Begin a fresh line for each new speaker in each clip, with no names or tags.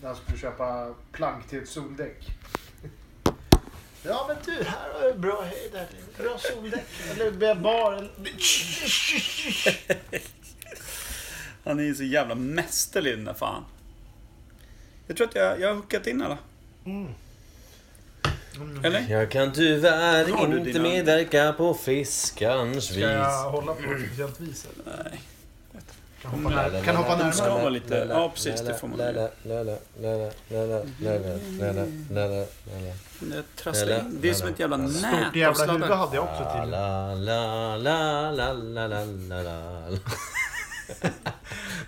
När han skulle köpa plank till ett soldäck.
Ja men du, här har du bra höjd. här. Bra soldäck. Eller blir jag bar. en-
Han är ju så jävla mästerlig den där fan. Jag tror att jag, jag har hookat in alla.
Mm.
Eller?
Jag kan tyvärr
Drar du
inte
dina-
medverka på fiskarns
Ska
vis.
jag hålla på ett speciellt vis eller?
Nej.
Kan
Mm.
hoppa, när, kan hoppa
De ska
närmare.
vara lite... Ja, precis. Det får man göra. Jag trasslar in. Det är som ett jävla
Stort
nät av
jävla huvud
sladdar.
hade jag också till.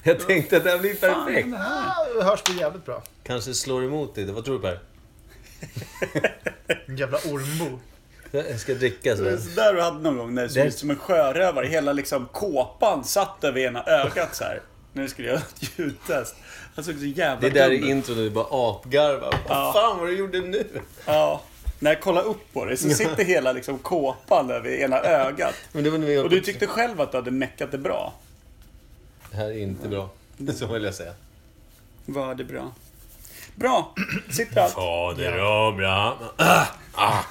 Jag tänkte att det här blir
Fan,
perfekt.
den här-
Ah, det hörs det jävligt bra.
Kanske slår emot dig. Vad tror du Per?
En jävla ormbo.
Jag ska dricka
Det är
så.
sådär du hade någon gång när det såg
Det-
ut som en sjörövare. Hela liksom kåpan satt över ena ögat så här. När du skulle göra ett ljudtest. Han såg så jävla
Det där
dum ut.
är intro du bara apgarvar.
Ja.
Vad fan vad du gjorde nu?
Ja. När jag kollar upp på dig så sitter hela liksom kåpan över ena ögat.
Men det var nu jag-
Och du tyckte själv att du hade meckat det bra.
Det här är inte bra.
Mm.
Så vill jag säga.
Var det bra? Bra! Sitter allt.
Ja, det var bra.
Ja!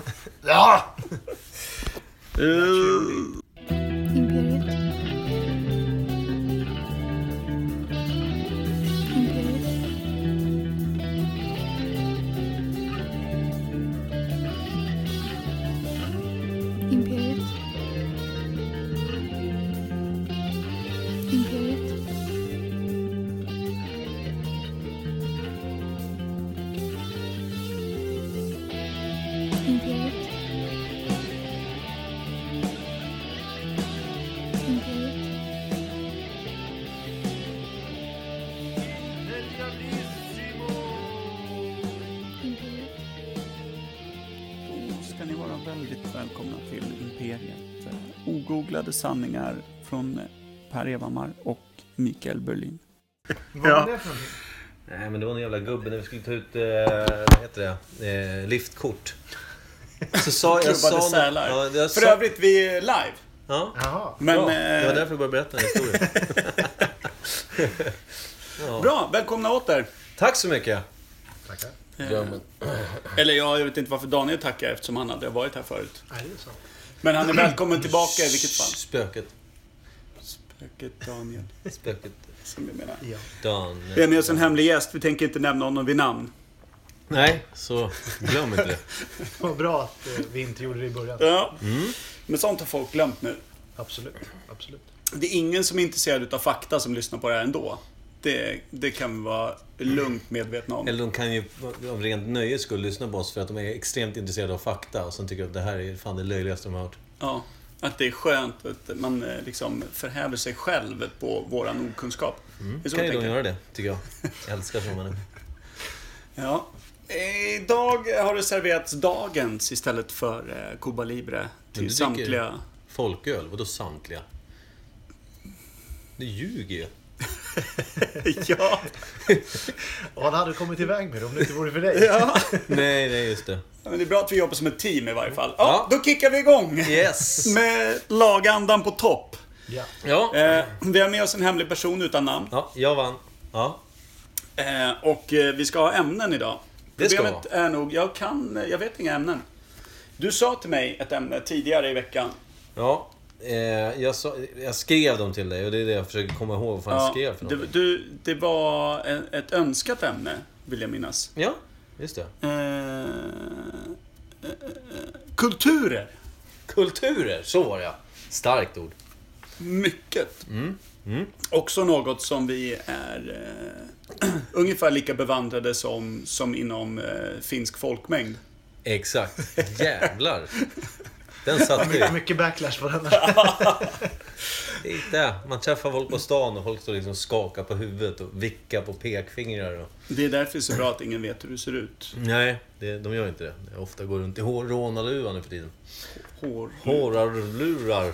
Imperiet. Imperiet. Imperiet. Imperiet. Imperiet. Imperiet. Imperiet.
Då ska ni vara väldigt välkomna till Imperiet. Eh, Ogooglade sanningar från eh, Per Evhammar och Mikael Berlin.
Vad var det för någonting?
Nej, men det var en jävla gubbe när vi skulle ta ut, eh, vad heter det, eh, liftkort. Så sa jag...
Klubbade
sa,
sälar.
Ja, jag
För
sa,
övrigt, vi är live.
ja,
Jaha.
Men,
bra. Det var
eh,
därför jag började berätta en historia.
bra, välkomna åter.
Tack så mycket.
Tackar.
Eh,
Ja, men,
Eller ja, jag vet inte varför Daniel tackar eftersom han hade varit här förut.
Nej, det är sant.
Men han är välkommen tillbaka i vilket fall.
Spöket.
Spöket Daniel,
Spöket.
som jag menar.
Ja.
Dan.
Vi har med oss en hemlig gäst, vi tänker inte nämna honom vid namn.
Nej, så glöm inte det.
Vad bra att eh, vi inte gjorde det i början.
Ja. Mm. Men sånt har folk glömt nu.
Absolut. Absolut.
Det är ingen som är intresserad av fakta som lyssnar på det här ändå. Det, det kan vi vara lugnt medvetna om.
Eller de kan ju av rent nöje skulle lyssna på oss för att de är extremt intresserade av fakta och sen tycker att det här är fan det löjligaste de har hört.
Ja, att det är skönt att man eh, liksom förhäver sig själv på våran okunskap. Det är så
Mm. kan
jag
ju de
tänker.
göra det, tycker jag. Jag älskar sådana människor.
Ja. Idag har det serverats dagens istället för eh, Cuba Libre
Men du
till
dricker-
samtliga.
Folköl, vadå samtliga? Du ljuger ju.
Ja,
Och han hade kommit iväg med det om det inte vore för dig.
ja.
Nej, nej, just det.
Men det är bra att vi jobbar som ett team i varje fall. Ja,
Ja.
Då kickar vi igång!
Yes!
Med lagandan på topp.
Ja.
Ja,
Eh, vi har med oss en hemlig person utan namn.
ja jag vann. Ja.
Eh, och eh, vi ska ha ämnen idag.
Det ska
Problemet är nog, jag kan, eh, jag vet inga ämnen. Du sa till mig ett ämne tidigare i veckan.
ja. Eh, jag, sa, jag skrev dem till dig och det är det jag försöker komma ihåg vad fan jag skrev för
du,
någonting.
du, det var en- ett önskat ämne, vill jag minnas.
Ja, just det.
Eh, eh, eh, kulturer.
Kulturer, så var det ja. Starkt ord.
Mycket.
Mm,
Också något som vi är eh, ungefär lika bevandrade som, som inom eh, finsk folkmängd.
Exakt. Jävlar. Den satt ju.
Mycket backlash på den här.
Titta, man träffar folk på stan och folk står liksom och skakar på huvudet och vickar på pekfingrar. Och...
Det är därför det är så bra att ingen vet hur du ser ut.
Nej, det, de gör inte det. Jag ofta går runt i hår- rånarluva nu för tiden.
Hår.
Hårarlurar.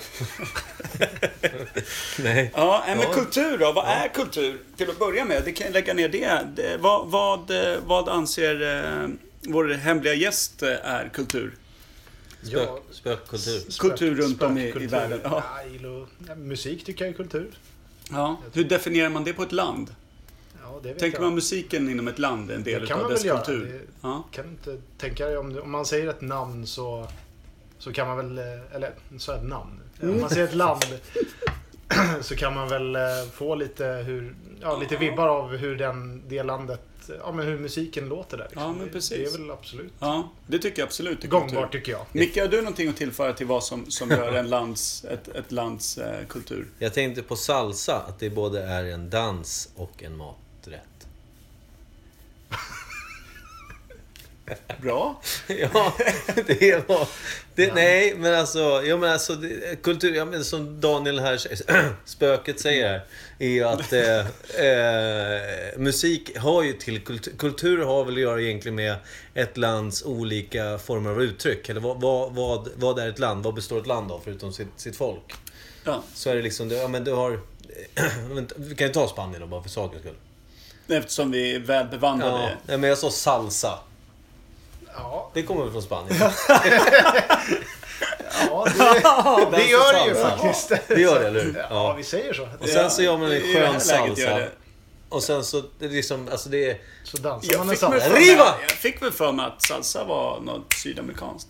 Nej.
Ja, äh, men
Ja.
kultur då? Vad är kultur? Till att börja med, det kan jag lägga ner det. det vad, vad, eh, vad anser eh, vår hemliga gäst eh, är kultur?
Spök, spökkultur.
Kultur runt om i- i världen, ja.
Ja. Ja, musik tycker jag är kultur.
Ja. Hur definierar man det på ett land?
Ja, Ja, det vet
Tänker
jag.
man musiken inom ett land är en del
Det kan
av
man
dess
väl göra.
kultur?
Det-
Ja.
Kan du inte tänka dig om, du- om man säger ett namn så, så kan man väl, eh, eller så är ett namn. Om man säger ett land så kan man väl eh, få lite, hur, ja, lite vibbar av hur den, det landet, eh, ja men hur musiken låter där. liksom.
Ja, men precis.
Det är väl absolut
ja, det tycker jag absolut är
gångbart
kultur.
tycker jag.
Micke, har du någonting att tillföra till vad som, som gör en lands, ett, ett lands eh, kultur?
Jag tänkte på salsa, att det både är en dans och en maträtt.
Bra.
Ja, det var... Det, nej, men alltså... Jo, men alltså det, kultur, ja, men som Daniel här, säger- spöket säger här, är ju att eh, eh, musik har ju till kultur... Kultur har väl att göra egentligen med ett lands olika former av uttryck. Eller vad, vad, vad, vad är ett land? Vad består ett land av, förutom sitt, sitt folk?
Ja.
Så är det liksom... Ja, men du har... vänta, Vi kan ju ta Spanien då, bara för sakens skull.
Eftersom vi är väl
Ja,
bevandrade.
nej, men jag sa salsa.
Ja,
Det kommer väl från Spanien?
ja det, det gör det ju
Salsa.
faktiskt.
Det gör det, eller hur?
Ja, vi säger så.
Och sen så gör man
i
en
det här
skön
läget gör
salsa.
det. Mm.
Och sen så, det är liksom, alltså det är...
Så dansar
Jag
man en
fick, mig
salsa.
för mig,
Riva!
jag fick väl för mig att salsa var något sydamerikanskt.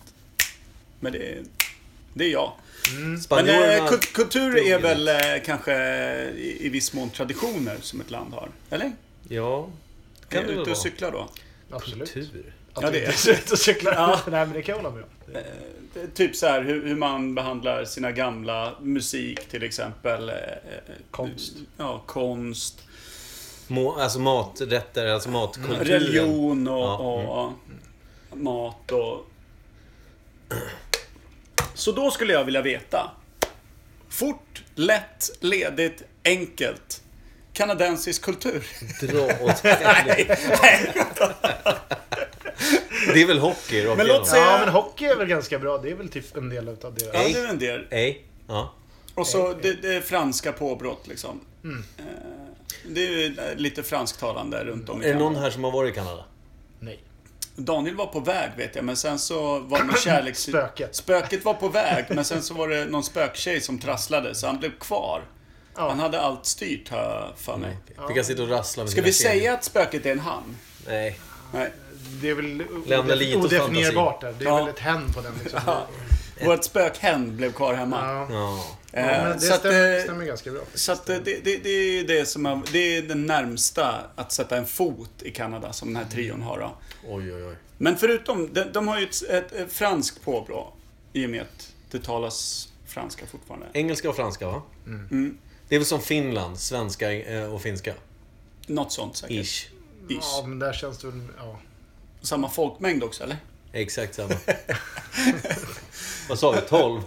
Men det, det är jag. Men eh,
Spanjorerna...
kul- kultur är väl eh, kanske i, i viss mån traditioner som ett land har? Eller?
Ja, det
Kan
kan
är
det
jag
väl
ute och
vara.
cyklar då?
Absolut.
Kultur.
Att
Ja,
du
det
inte
är.
ser ut och cyklar.
Ja.
Nej, men det kan jag hålla med om.
Eh, det- typ så här hur, hur man behandlar sina gamla musik till exempel. eh, eh,
Konst.
Ja, konst.
Må, alltså maträtter, alltså matkulturen.
Religion och,
Ja, Mm.
och mat och... Så då skulle jag vilja veta. Fort, lätt, ledigt, enkelt. Kanadensisk kultur.
Dra åt helvete. Det är väl hockey rakt
Men låt
igenom?
säga-
Ja, men hockey är väl ganska bra. Det är väl typ en del utav
Ja,
det.
det är en del.
Nej. Ja.
Och så det, det är franska påbrott liksom.
Mm.
Eh, Det är ju lite fransktalande runt om i
Är det
Kanada.
någon här som har varit i Kanada?
Nej.
Daniel var på väg vet jag, men sen så var det någon kärleks...
Spöket.
Spöket var på väg, men sen så var det någon spöktjej som trasslade, så han blev kvar.
Ja.
Han hade allt styrt här för mig.
Vi kan sitta och rassla med
Ska
sina
vi
kedjor.
säga att spöket är en han?
Nej.
Nej.
Det är väl
Lämna
odef-
lite åt
odefinierbart där. Det är
Ja.
väl ett hen på den liksom. Ja.
Vårt spökhän blev kvar hemma.
Ja,
Ja.
men
Eh,
det
Så att,
stämmer,
eh,
stämmer ganska bra.
så att eh, det, det, det är det som har, det är den närmsta att sätta en fot i Kanada som den här trion har då.
Oj, oj, oj.
Men förutom, de, de har ju ett, ett, ett franskt påbrå i och med att det talas franska fortfarande.
Engelska och franska, va?
Mm.
Det är väl som Finland, svenska eh, och finska?
Något sånt säkert.
Ish.
Ish.
Ja, men där känns det väl... Ja.
Samma folkmängd också eller?
Exakt samma. Vad sa vi? 12?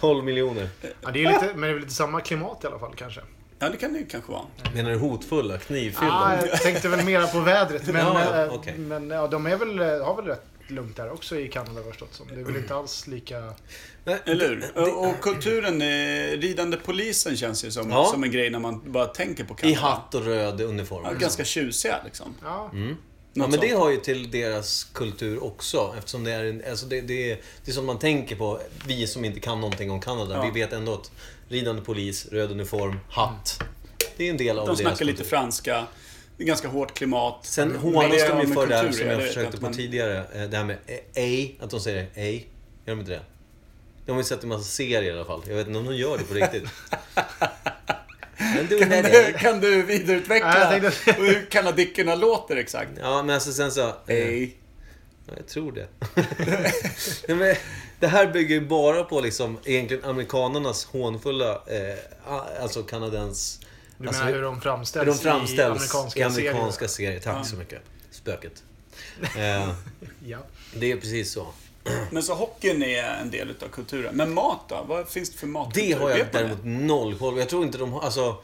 12 miljoner.
ja det är lite, men det är väl lite samma klimat i alla fall kanske.
Ja, det kan det ju kanske vara.
Menar du hotfulla? Knivfyllda?
Ah, jag tänkte väl mera på vädret. Men,
Ja,
eh,
okej.
men ja, de är väl, eh, har väl rätt lugnt där också i Kanada vad jag förstått som. Det är väl inte alls lika...
Nej,
Eller hur? Och, och kulturen, eh, ridande polisen känns ju som,
Ja.
som en grej när man bara tänker på
I
Kanada.
hatt och röd uniform.
Ja, ganska tjusiga liksom.
Ja,
Mm. Ja,
Något
men det
sånt.
har ju till deras kultur också. Eftersom det är, en, alltså det, det, är- det är som man tänker på, vi som inte kan någonting om Kanada.
Ja.
Vi vet ändå att ridande polis, röd uniform, hatt. Det är en del
De
av deras
snackar lite
kultur.
franska. Det är ganska hårt klimat.
Sen
Mm. Men
hånas
det har
de ju
med
för det här
kultur
som
att
jag
göra,
försökte
att
på
man-
tidigare. eh, Det här med ej, att de säger ej. Gör de inte det? De har ju sett en massa serier i alla fall. Jag vet inte om de gör det på riktigt. Men du,
Kan
nej,
du,
nej.
kan du vidareutveckla
Ja, jag tänkte-
hur kanadickerna låter exakt?
Ja, men alltså sen så... Eh,
Ej.
ja, jag tror det. nej, men, det här bygger ju bara på liksom egentligen amerikanernas hånfulla, eh, a- alltså kanadens...
du menar
alltså,
hur de framställs,
hur de framställs
i amerikanska,
i amerikanska
serier?
serier. Tack så mycket. Spöket. Eh,
Ja.
det är precis så.
Men så hockeyn är en del utav kulturen. Men mat då? Vad finns det för mat?
Det har jag
Vet man
däremot noll koll på. Jag tror inte de har... Alltså,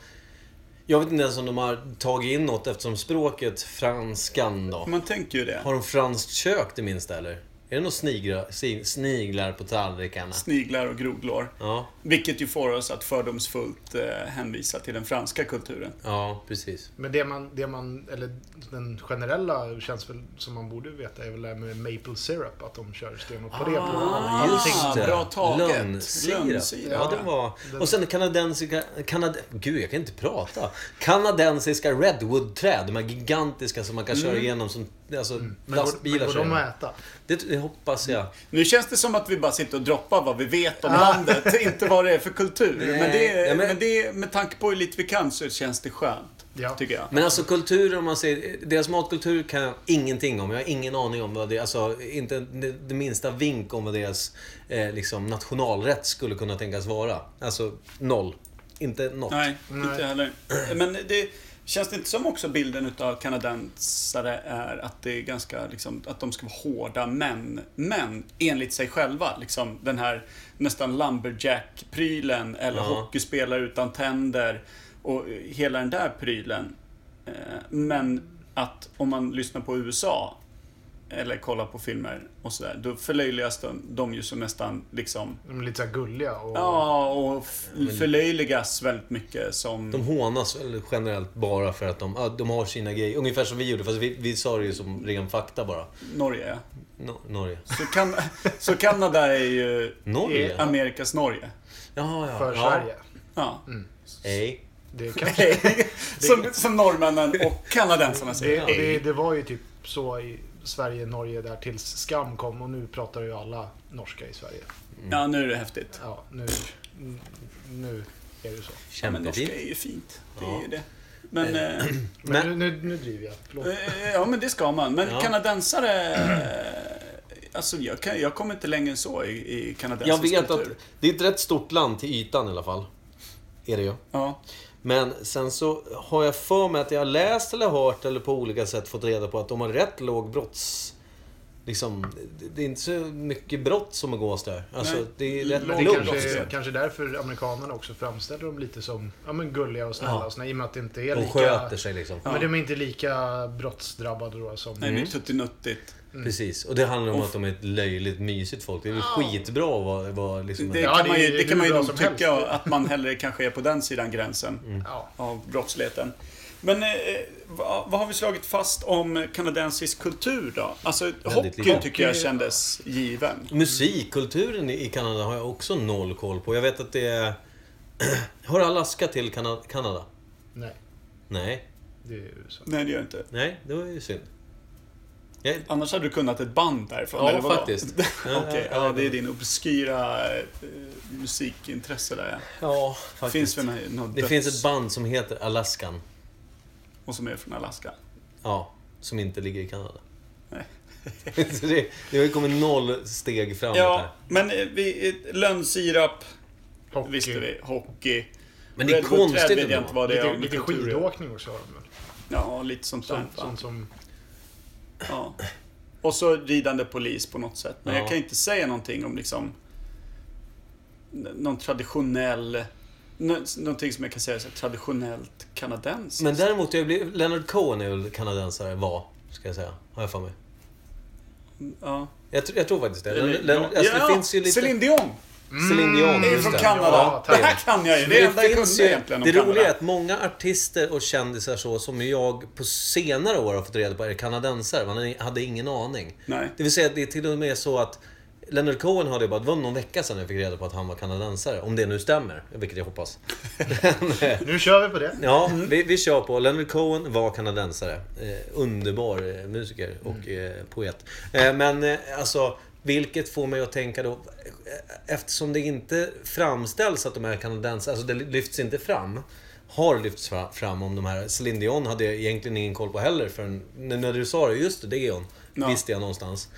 jag vet inte ens om de har tagit in något eftersom språket franskan
det?
då.
Man tänker ju det.
Har de franskt kök det minsta eller? Är Är det nog sniglar, sniglar på tallrikarna?
Sniglar och groglor.
Ja,
Vilket ju får oss att fördomsfullt eh, hänvisa till den franska kulturen.
ja precis.
Men det man, det man, eller den generella känns väl som man borde veta är väl det här med maple syrup, att de kör stenhårt på det. Ah.
Just det.
Bra taget.
Lönnsirap.
Lönnsirap.
Ja, det var... Och sen kanadensiska... Kanad... Gud, jag kan inte prata. Kanadensiska redwoodträd. De här gigantiska som man kan köra igenom som alltså,
Mm. Men går, men
lastbilar
går
kör
de
igenom.
att äta?
Det, det hoppas jag.
Nu känns det som att vi bara sitter och droppar vad vi vet om landet, inte vad det är för kultur.
Ah. Nej.
Men, det,
Ja,
är-
men-
men det, är- med tanke på hur lite vi kan så känns det skönt.
Ja.
Tycker jag.
Men alltså kultur, om man säger... Deras matkultur kan jag ingenting om. Jag har ingen aning om vad det... Alltså, inte det, det minsta vink om vad deras eh, liksom, nationalrätt skulle kunna tänkas vara. Alltså, noll. Inte något.
Nej, inte heller. Men det känns det inte som också bilden utav kanadensare är att det är ganska liksom, att de ska vara hårda män, men enligt sig själva. Liksom den här nästan lumberjack-prylen eller
Ja.
hockeyspelare utan tänder och hela den där prylen. Eh, Men att om man lyssnar på USA eller kollar på filmer och sådär, då förlöjligas de, de ju som nästan liksom
De är lite så här gulliga och...
Ja, och f- förlöjligas väldigt mycket som...
De hånas väl generellt bara för att de, ja, de har sina grejer. Ungefär som vi gjorde, fast vi, vi sa det ju som ren fakta bara.
Norge, ja.
No, Norge.
Så, kan, så Kanada är ju Eh,
Norge? Ja,
Amerikas Norge.
ja. ja.
för Sverige.
Ja.
Mm.
Nej.
Det, kanske,
Som, som norrmännen och kanadensarna
det,
säger.
och det, det var ju typ så i Sverige, Norge där tills Skam kom och nu pratar ju alla norska i Sverige.
Ja, nu är det häftigt.
Ja, nu, nu är det så.
Ja, men norska
Kämpefint.
är ju fint. Det är ju det. Men, eh,
Men nu, nu, nu driver jag. Förlåt.
eh, ja, men det ska man. Men
Ja.
kanadensare... eh, Alltså, jag, kan, jag kommer inte längre än så i, i
Jag
kanadensisk
vet att
kultur.
det är ett rätt stort land till ytan i alla fall. Är det ju.
Ja.
Men sen så har jag för mig att jag har läst eller hört eller på olika sätt fått reda på att de har rätt låg brotts... Liksom, det- det är inte så mycket brott som begås där. Alltså,
Nej.
det är rätt
Låg
Men det
Lugn
lugnt.
brotts-
kanske,
också.
kanske därför amerikanerna också framställer dem lite som ja, men gulliga och snälla
Ja.
och såna, i och med att det inte är
De
lika...
sköter sig liksom.
Men de är inte lika brottsdrabbade då som...
Nej, det är tuttinuttigt.
Precis, och det handlar om att de är ett löjligt mysigt folk. Det är väl skitbra att vara, vara liksom...
Det,
Mm.
en-
Ja,
kan
det
man
är
ju,
ju
det
hur
kan man ju
bra
nog
som
tycka
helst. Mm.
att man hellre kanske är på den sidan gränsen
Ja.
av brottsligheten. Men eh, vad, vad har vi slagit fast om kanadensisk kultur då? Alltså
Väldigt
hockeyn
lite.
tycker jag kändes given.
Musikkulturen i i Kanada har jag också noll koll på. Jag vet att det är... Hör Alaska till Kana- Kanada?
Nej,
Nej.
det är USA.
Nej, det gör jag inte.
Nej, det var ju synd. Jag...
Annars hade du kunnat ett band därifrån,
Ja,
eller vadå?
faktiskt.
Okej, ja, det är din obskyra eh, musikintresse där ja.
Ja, faktiskt.
Finns för mig något
det
döds-
finns ett band som heter Alaskan.
Och som är från Alaska.
Ja, som inte ligger i Kanada.
Nej.
Så det, det har ju kommit noll steg framåt
Ja,
här.
men eh, vi, eh, lönnsirap
Hockey.
visste vi. Hockey.
Men det är
Redwood-träd
konstigt
vet jag
ändå.
inte vad det är.
Lite,
om
lite
kultur.
skidåkning också har de väl?
Ja, lite sånt där.
Sånt,
va?
sånt som...
Ja. Och så ridande polis på något sätt. Men
Ja.
jag kan inte säga någonting om liksom n- någon traditionell nå- Någonting som jag kan säga är så här, traditionellt kanadensiskt.
Men däremot, jag blir, Leonard Cohen är väl kanadensare, var, ska jag säga. Har jag för mig.
Ja.
Jag, tr- jag tror faktiskt det.
Eller-
Len, Len, alltså,
ja,
det finns ju lite...
Céline Dion
Celine Dion,
är ju
just
från
det.
Kanada.
Ja,
det
är
här kan jag ju. Det är det
det
enda jag
finns
kunde
ju,
egentligen om
det roliga är
Kanada.
att många artister och kändisar så, som jag på senare år har fått reda på är kanadensare. Man hade ingen aning.
Nej.
Det vill säga, det är till och med så att Leonard Cohen hade bara, det var någon vecka sedan jag fick reda på att han var kanadensare. Om det nu stämmer, vilket jag hoppas. eh,
Nu kör vi på det.
Ja, vi, vi kör på. Leonard Cohen var kanadensare. Eh, underbar eh, musiker och eh, poet. Eh, men eh, alltså, vilket får mig att tänka då... eh, Eftersom det inte framställs att de här kanadensare... Alltså det lyfts inte fram. Har lyfts fra- fram om de här. Céline Dion hade jag egentligen ingen koll på heller förrän... När när du sa det, just det, det är hon.
Ja.
Visste jag någonstans.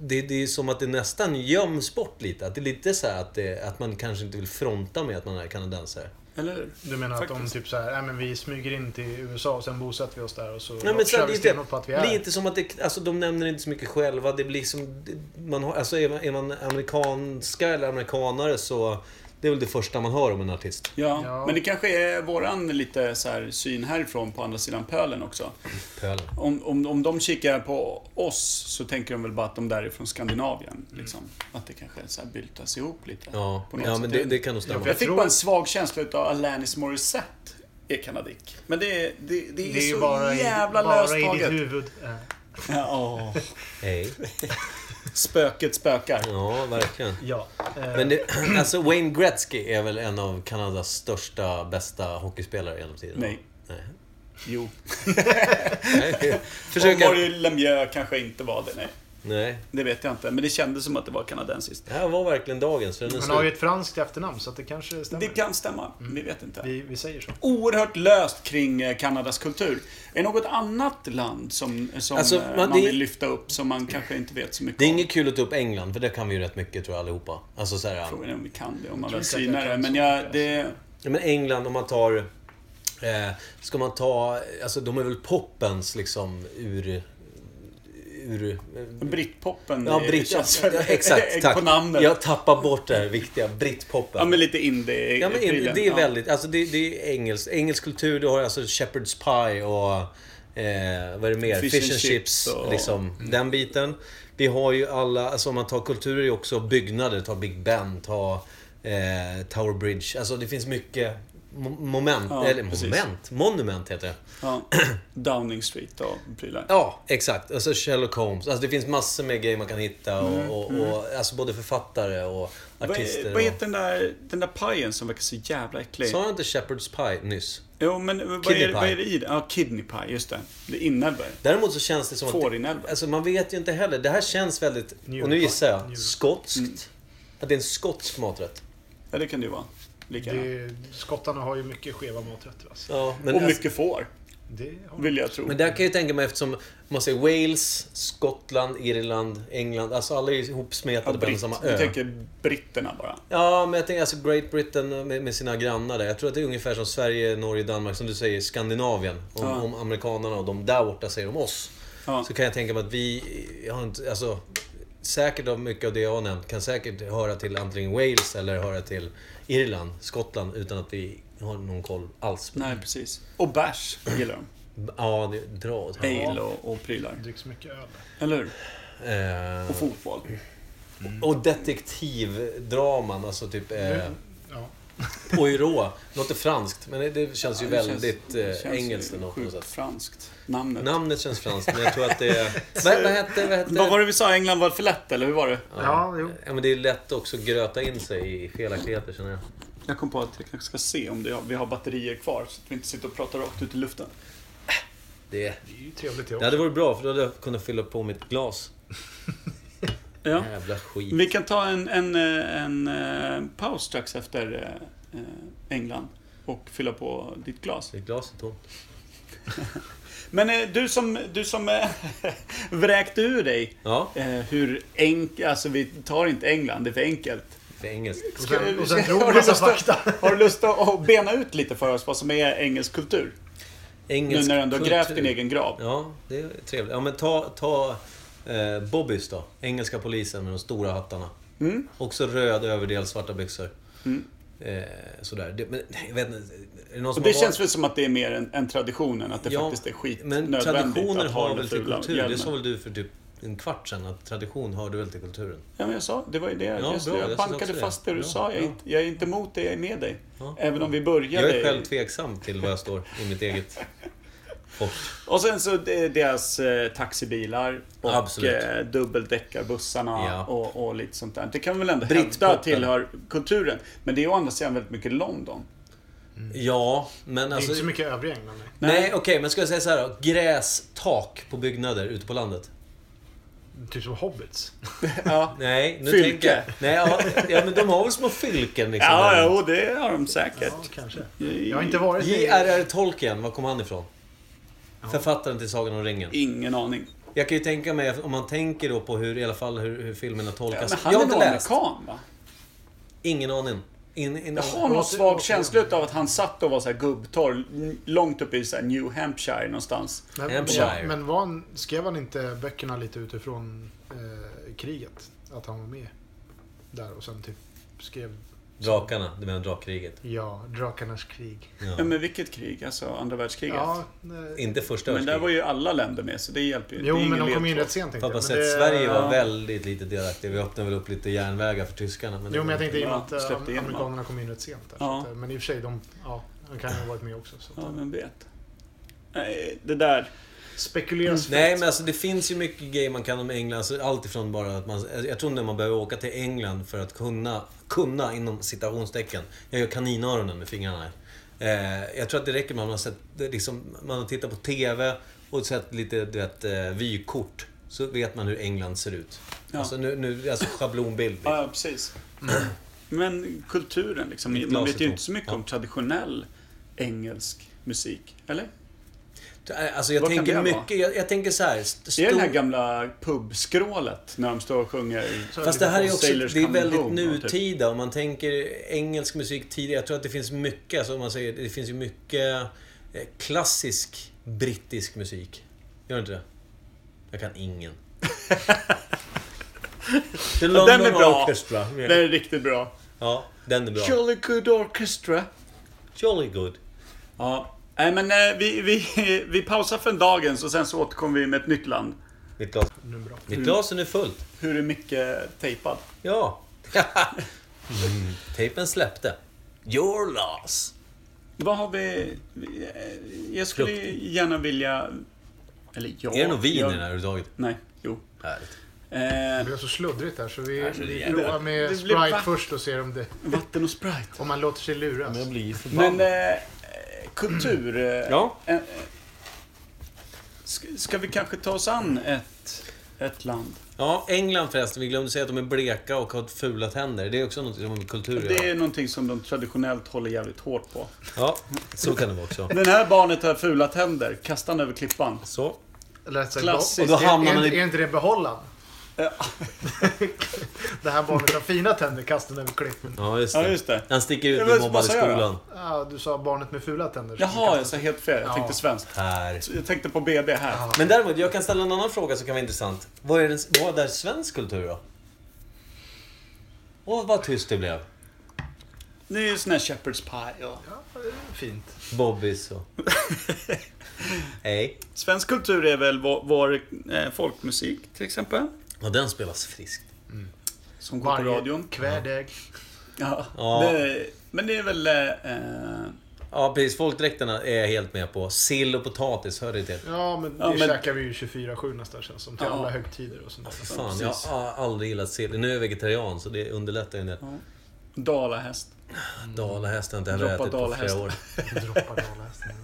Det, det är som att det nästan göms bort lite. Att det är lite så här att, det, att man kanske inte vill fronta med att man är kanadensare.
Eller hur?
Du menar att de
Faktiskt.
typ så här, nej men vi smyger in till USA och sen bosätter vi oss där och så
Nej,
kör
men sen,
vi
lite,
stenhårt på att vi är
lite som att det, alltså, de nämner inte så mycket själva. Det blir som, man har, alltså, är, man, är man amerikanska eller amerikanare så Det är väl det första man hör om en artist.
Ja,
Ja.
men det kanske är våran lite så här syn härifrån på andra sidan pölen också.
Pölen.
Om, om, om de kikar på oss så tänker de väl bara att de där är från Skandinavien. Liksom. Att det kanske så här byltas ihop lite.
Mm. Ja,
på något
ja
sätt.
men det, det kan nog
jag,
stämma.
fick
tror-
bara en svag känsla utav Alanis Morissette är kanadick. Men det, är- det, det, är,
Det är ju
så
bara, i,
jävla
bara i ditt
löstaget.
huvud. Eh, Ja.
Ja, åh.
Hej.
Spöket spökar.
Ja, verkligen.
Ja. Eh,
Men det, alltså Wayne Gretzky är väl en av Kanadas största, bästa hockeyspelare genom tiden?
Nej.
Nej.
Jo.
Nej.
Och
Försöka...
Mario Lemieux kanske inte var det, nej.
Nej.
Det vet jag inte, men det kändes som att det var kanadensiskt.
Det här var verkligen dagens. för Den är
Han har ju
slut.
ett franskt efternamn så att det kanske stämmer.
Det kan stämma,
Mm.
vi vet inte.
vi, vi säger så.
Oerhört löst kring eh, Kanadas kultur. Är det något annat land som, som
Alltså,
eh,
men
man
det-
vill lyfta upp som man kanske inte vet så mycket
Det är
om?
inget kul att ta upp England, för det kan vi ju rätt mycket tror jag allihopa. Alltså så här,
Frågan är om vi kan det, om man
tror
väl
inte att jag
synar det.
kan
Men
så
jag,
mycket,
det...
Ja, men England, om man tar... Eh, ska man ta... Alltså de är väl poppens liksom ur... ur eh,
Brittpoppen.
ja,
det
britt,
känns
ja,
väl-
exakt.
På
Tack.
namnet.
Jag tappar bort det här viktiga. Brittpoppen.
Ja, men lite indie
Ja, men
prylen,
det är
ja.
väldigt... Alltså det, det är engelsk, engelsk kultur. Du har alltså Shepherd's Pie och... Eh, vad är det mer? Fish, and chips.
och-
Liksom, Den biten. Vi har ju alla... Alltså om man tar kulturer är ju också byggnader. Ta Big Ben, ta eh, Tower Bridge. Alltså det finns mycket mo- moment.
Ja,
eller
precis.
moment? Monument heter det.
Ja. Downing Street och prylar.
Ja, exakt. Alltså Sherlock Holmes. Alltså det finns massor med grejer man kan hitta. Och, och, och, alltså både författare och
Mm, Vad,
artister.
vad heter den där, den där pajen som verkar så jävla
och...
äcklig?
Sa jag inte Shepherd's Pie nyss?
Jo, men vad
Kidney
är, vad
pie.
är det i den? Ja, kidney pie, just det. Det är inälvor.
Däremot så känns det som att...
Fårinälvor.
Alltså man vet ju inte heller. Det här känns väldigt, och nu
Njure.
gissar jag,
Njure.
skotskt.
Mm.
Att det är en skotsk maträtt.
Ja, det kan det ju vara. Lika
Det är,
gärna.
ju- skottarna har ju mycket skeva maträtter. Alltså.
Ja, men,
Och
alltså-
mycket får,
Det har
vill jag tro.
men där kan jag ju tänka mig eftersom man säger Wales, Skottland, Irland, England. Alltså alla är ju
Ja,
ihopsmetade på en
britt.
samma
Jag
ö.
tänker britterna bara.
Ja, men jag tänker alltså Great Britain med, med sina grannar där. Jag tror att det är ungefär som Sverige, Norge, Danmark, som du säger, Skandinavien. Om,
Ja.
om amerikanarna och de där borta säger om oss.
Ja.
Så kan jag tänka mig att vi har inte, alltså, säkert av mycket av det jag har nämnt kan säkert höra till antingen Wales eller höra till Irland, Skottland utan att vi har någon koll alls. på-
Nej, precis. Och bärs gillar de.
Ja, det dra åt
Ale och, och prylar.
dricks mycket öl.
Eller hur?
Eh,
Och fotboll.
och detektivdraman, alltså typ eh,
Mm.
Ja.
Poirot. Låter franskt, men det, det känns ju väldigt eh, engelskt ändå. på
Sjukt
något sätt.
franskt. Namnet.
Namnet känns franskt, men jag tror att det är... Vad, vad hette... Vad hette?
Vad var det vi sa? England var för lätt, eller hur var det?
Ja, jo.
Ja, men det är lätt också att gröta in sig i felaktigheter, känner jag.
Jag kom på att jag kanske ska se om det, vi har batterier kvar så att vi inte sitter och pratar rakt ut i luften.
Det,
Det är ju trevligt det
det
också.
hade varit bra, för då hade jag kunnat fylla på mitt glas.
Ja.
Jävla skit.
Vi kan ta en, en, eh, en, eh, paus strax efter eh, eh, England och fylla på ditt glas.
Det är glaset tomt.
Men eh, du som, du som eh, vräkte ur dig
Ja,
eh, hur enkelt... Alltså vi tar inte England, det är för enkelt.
det är engelskt.
Och sen, och sen
Ska-
tror
har
man
du
massa
lust
fakta.
Har du lust att att bena ut lite för oss vad som är engelsk kultur? Nu
Engelsk
när du ändå har
kultur.
grävt din egen grav.
Ja, det är trevligt. Ja, men ta, ta eh, Bobbys då. Engelska polisen med de stora hattarna.
Mm.
Också röd överdel, svarta byxor.
Mm.
Eh, sådär. Det, men jag vet inte. Är det någon
Och
som
det
har varit-
känns väl som att det är mer en, en tradition än att det faktiskt är skit
Men
nödvändigt
traditioner
att ha
har
det
väl till
fula
kultur? Det
hjälmen.
sa väl du för typ en kvart sedan, att tradition hörde väl till kulturen?
Ja, men jag sa, det var ju det.
Ja,
Just
bra,
det.
jag
Jag
sa också
bankade
det.
fast det du
Bra,
sa. Jag är,
bra.
inte, jag är inte emot dig, jag är med dig.
Ja.
Även om vi
Jag
började...
är själv tveksam till vad jag står i mitt eget fort.
och sen så de- deras eh, taxibilar och
Absolut.
eh, dubbeldäckarbussarna
Ja.
och, och lite sånt där. Det kan vi väl ändå hävda
Britpopen.
tillhör kulturen. Men det är å andra sidan väldigt mycket London.
Ja, men
Det är
alltså...
inte så mycket övriga England. nej.
Nej, okej, men ska jag säga så här då? Grästak på byggnader ute på landet?
Typ som hobbits.
ja.
Nej, nu
Fylke.
tänker jag... Nej, ja, ja, men de har väl små fylken liksom.
ja,
där.
jo, det har de säkert.
Ja, kanske. Jag har inte varit i...
J.R.R. Tolkien, var kom han ifrån? Författaren till Sagan om ringen.
Ingen aning.
Jag kan ju tänka mig, om man tänker då på hur, i alla fall hur, hur filmerna
Ja,
tolkas.
men han
jag
är
har
nog
inte läst.
amerikan, va?
Ingen aning. In, in,
Jag har någon
Åter-
svag
åter-
känsla av att han satt och var så här gubbtorr n- långt uppe i så här New Hampshire någonstans.
Men,
Hampshire.
men var han, skrev han inte böckerna lite utifrån eh, kriget? Att han var med där och sen typ skrev
Drakarna, du menar drakkriget?
Ja, drakarnas krig.
Ja.
Ja, men vilket krig? Alltså andra världskriget?
Ja, eh,
Inte första
men där var
världskriget.
ju alla länder med, så det hjälper ju.
jo,
det är
men
ingen
de kom in
ledtråd.
rätt sent tänkte
Fast man
jag.
sett
Men det-
Sverige var
ja.
väldigt lite delaktiga. Vi öppnade väl upp lite järnvägar för tyskarna. Men det
Jo, men
var
jag tänkte i och med
Ja,
att eh,
släppte igenom
amerikanerna kom in rätt sent. Där,
Ja.
så att, eh, men i och för sig, de, ja, de kan ju ha varit med också. Så.
Ja, men vet. Nej, det där.
Spekuleras
Nej,
fritt.
men alltså det finns ju mycket grejer man kan om England. Alltså, allt ifrån bara att man... Jag tror inte man behöver åka till England för att kunna, kunna inom citationstecken. Jag gör kaninöronen med fingrarna här. Eh, jag tror att det räcker med att man har, sett, det är liksom, man har tittat på TV och sett lite du vet, eh, vykort. Så vet man hur England ser ut.
Ja.
Alltså, nu, nu, alltså schablonbild.
Ja, ja, precis. Men kulturen liksom. Man
glaset
vet ju
då.
inte så mycket om traditionell engelsk musik. Eller?
Alltså, jag,
Vad kan det
tänker
vara?
mycket, jag, jag tänker så här. st-
Det är det
stor-
här gamla pubskrålet när de står och sjunger.
Så
Fast det här är ju också
Sailors
det är
Coming
väldigt
Home, ja, typ.
nutida. Om man tänker engelsk musik tidigare. Jag tror att det finns mycket, alltså, om man säger, det finns ju mycket eh, klassisk brittisk musik. Gör det inte det? Jag kan ingen. The London
den är bra.
Orchestra.
Den är riktigt bra.
Ja, den är bra.
Jolly Good Orchestra.
Jolly good.
Ja. Nej, men eh, vi, vi, vi pausar för en dagens och sen så återkommer vi med ett nytt land.
Mitt glas,
Nu bra.
Mm.
mitt glas är nu fullt.
Hur är mycket tejpad?
Ja. mm, tejpen släppte. Your loss.
Vad har vi... vi- eh, Jag skulle gärna vilja... Eller jag...
Är det någon vin
jag,
i den här överhuvudtaget?
Nej, jo.
Härligt.
Det
Eh,
blev så sluddrigt där så vi,
så
vi
jävla-
provar
Det
med
blev
Sprite
vatten.
först och ser om, det,
vatten och Sprite.
om man låter sig luras.
Jag blir förbannad.
Men eh, kultur... eh,
Ja.
eh, eh, ska, ska vi kanske ta oss an ett, ett land?
Ja, England förresten. Vi glömde säga att de är bleka och har fula tänder. Det är också något som har med kultur att
Det är
göra.
ju någonting som de traditionellt håller jävligt hårt på.
Ja, så kan det vara också.
Den här barnet har fula tänder. Kasta den över klippan.
Så.
Eller rätt sagt,
Klassiskt.
Och
Och då hamnar
är,
man
är,
i-
är inte det behållan?
Ja.
det här barnet har fina tänder, kasta den över klippen.
Ja, just
Ja,
det.
just det.
Han sticker ut
Ja,
och
men
blir
vad
mobbad i
sa jag då?
skolan.
Ah, du sa barnet med fula tänder.
Jaha, jag sa helt fel. Jag
Ja.
tänkte svenskt.
Här.
Jag tänkte på BB här.
Men däremot, jag kan ställa en annan fråga som kan vara intressant. Vad är, den, vad är svensk kultur då? Åh, vad tyst det blev.
Det är ju sån här Shepherd's pie. Och...
Fint.
Bobbys och... Nej.
Svensk kultur är väl vår, vår eh, folkmusik till exempel.
Och den spelas friskt.
Som går på
Varje
radion.
kvädägg.
Ja.
Ja.
Det, men det är väl... Eh,
Ja, precis. Folkdräkterna är jag helt med på. Sill och potatis, hör det till.
Ja, men
Ja,
det
men-
käkar vi ju 24-7 nästan känns som. Till
Ja. Alltså,
alla högtider och sånt där.
Fan, jag
precis.
har aldrig gillat sill. Nu är jag vegetarian, så det underlättar ju en del.
dalahäst.
Dalahäst har jag inte heller
Droppa
ätit på
dalahäst.
flera år.
Droppar dalahästen.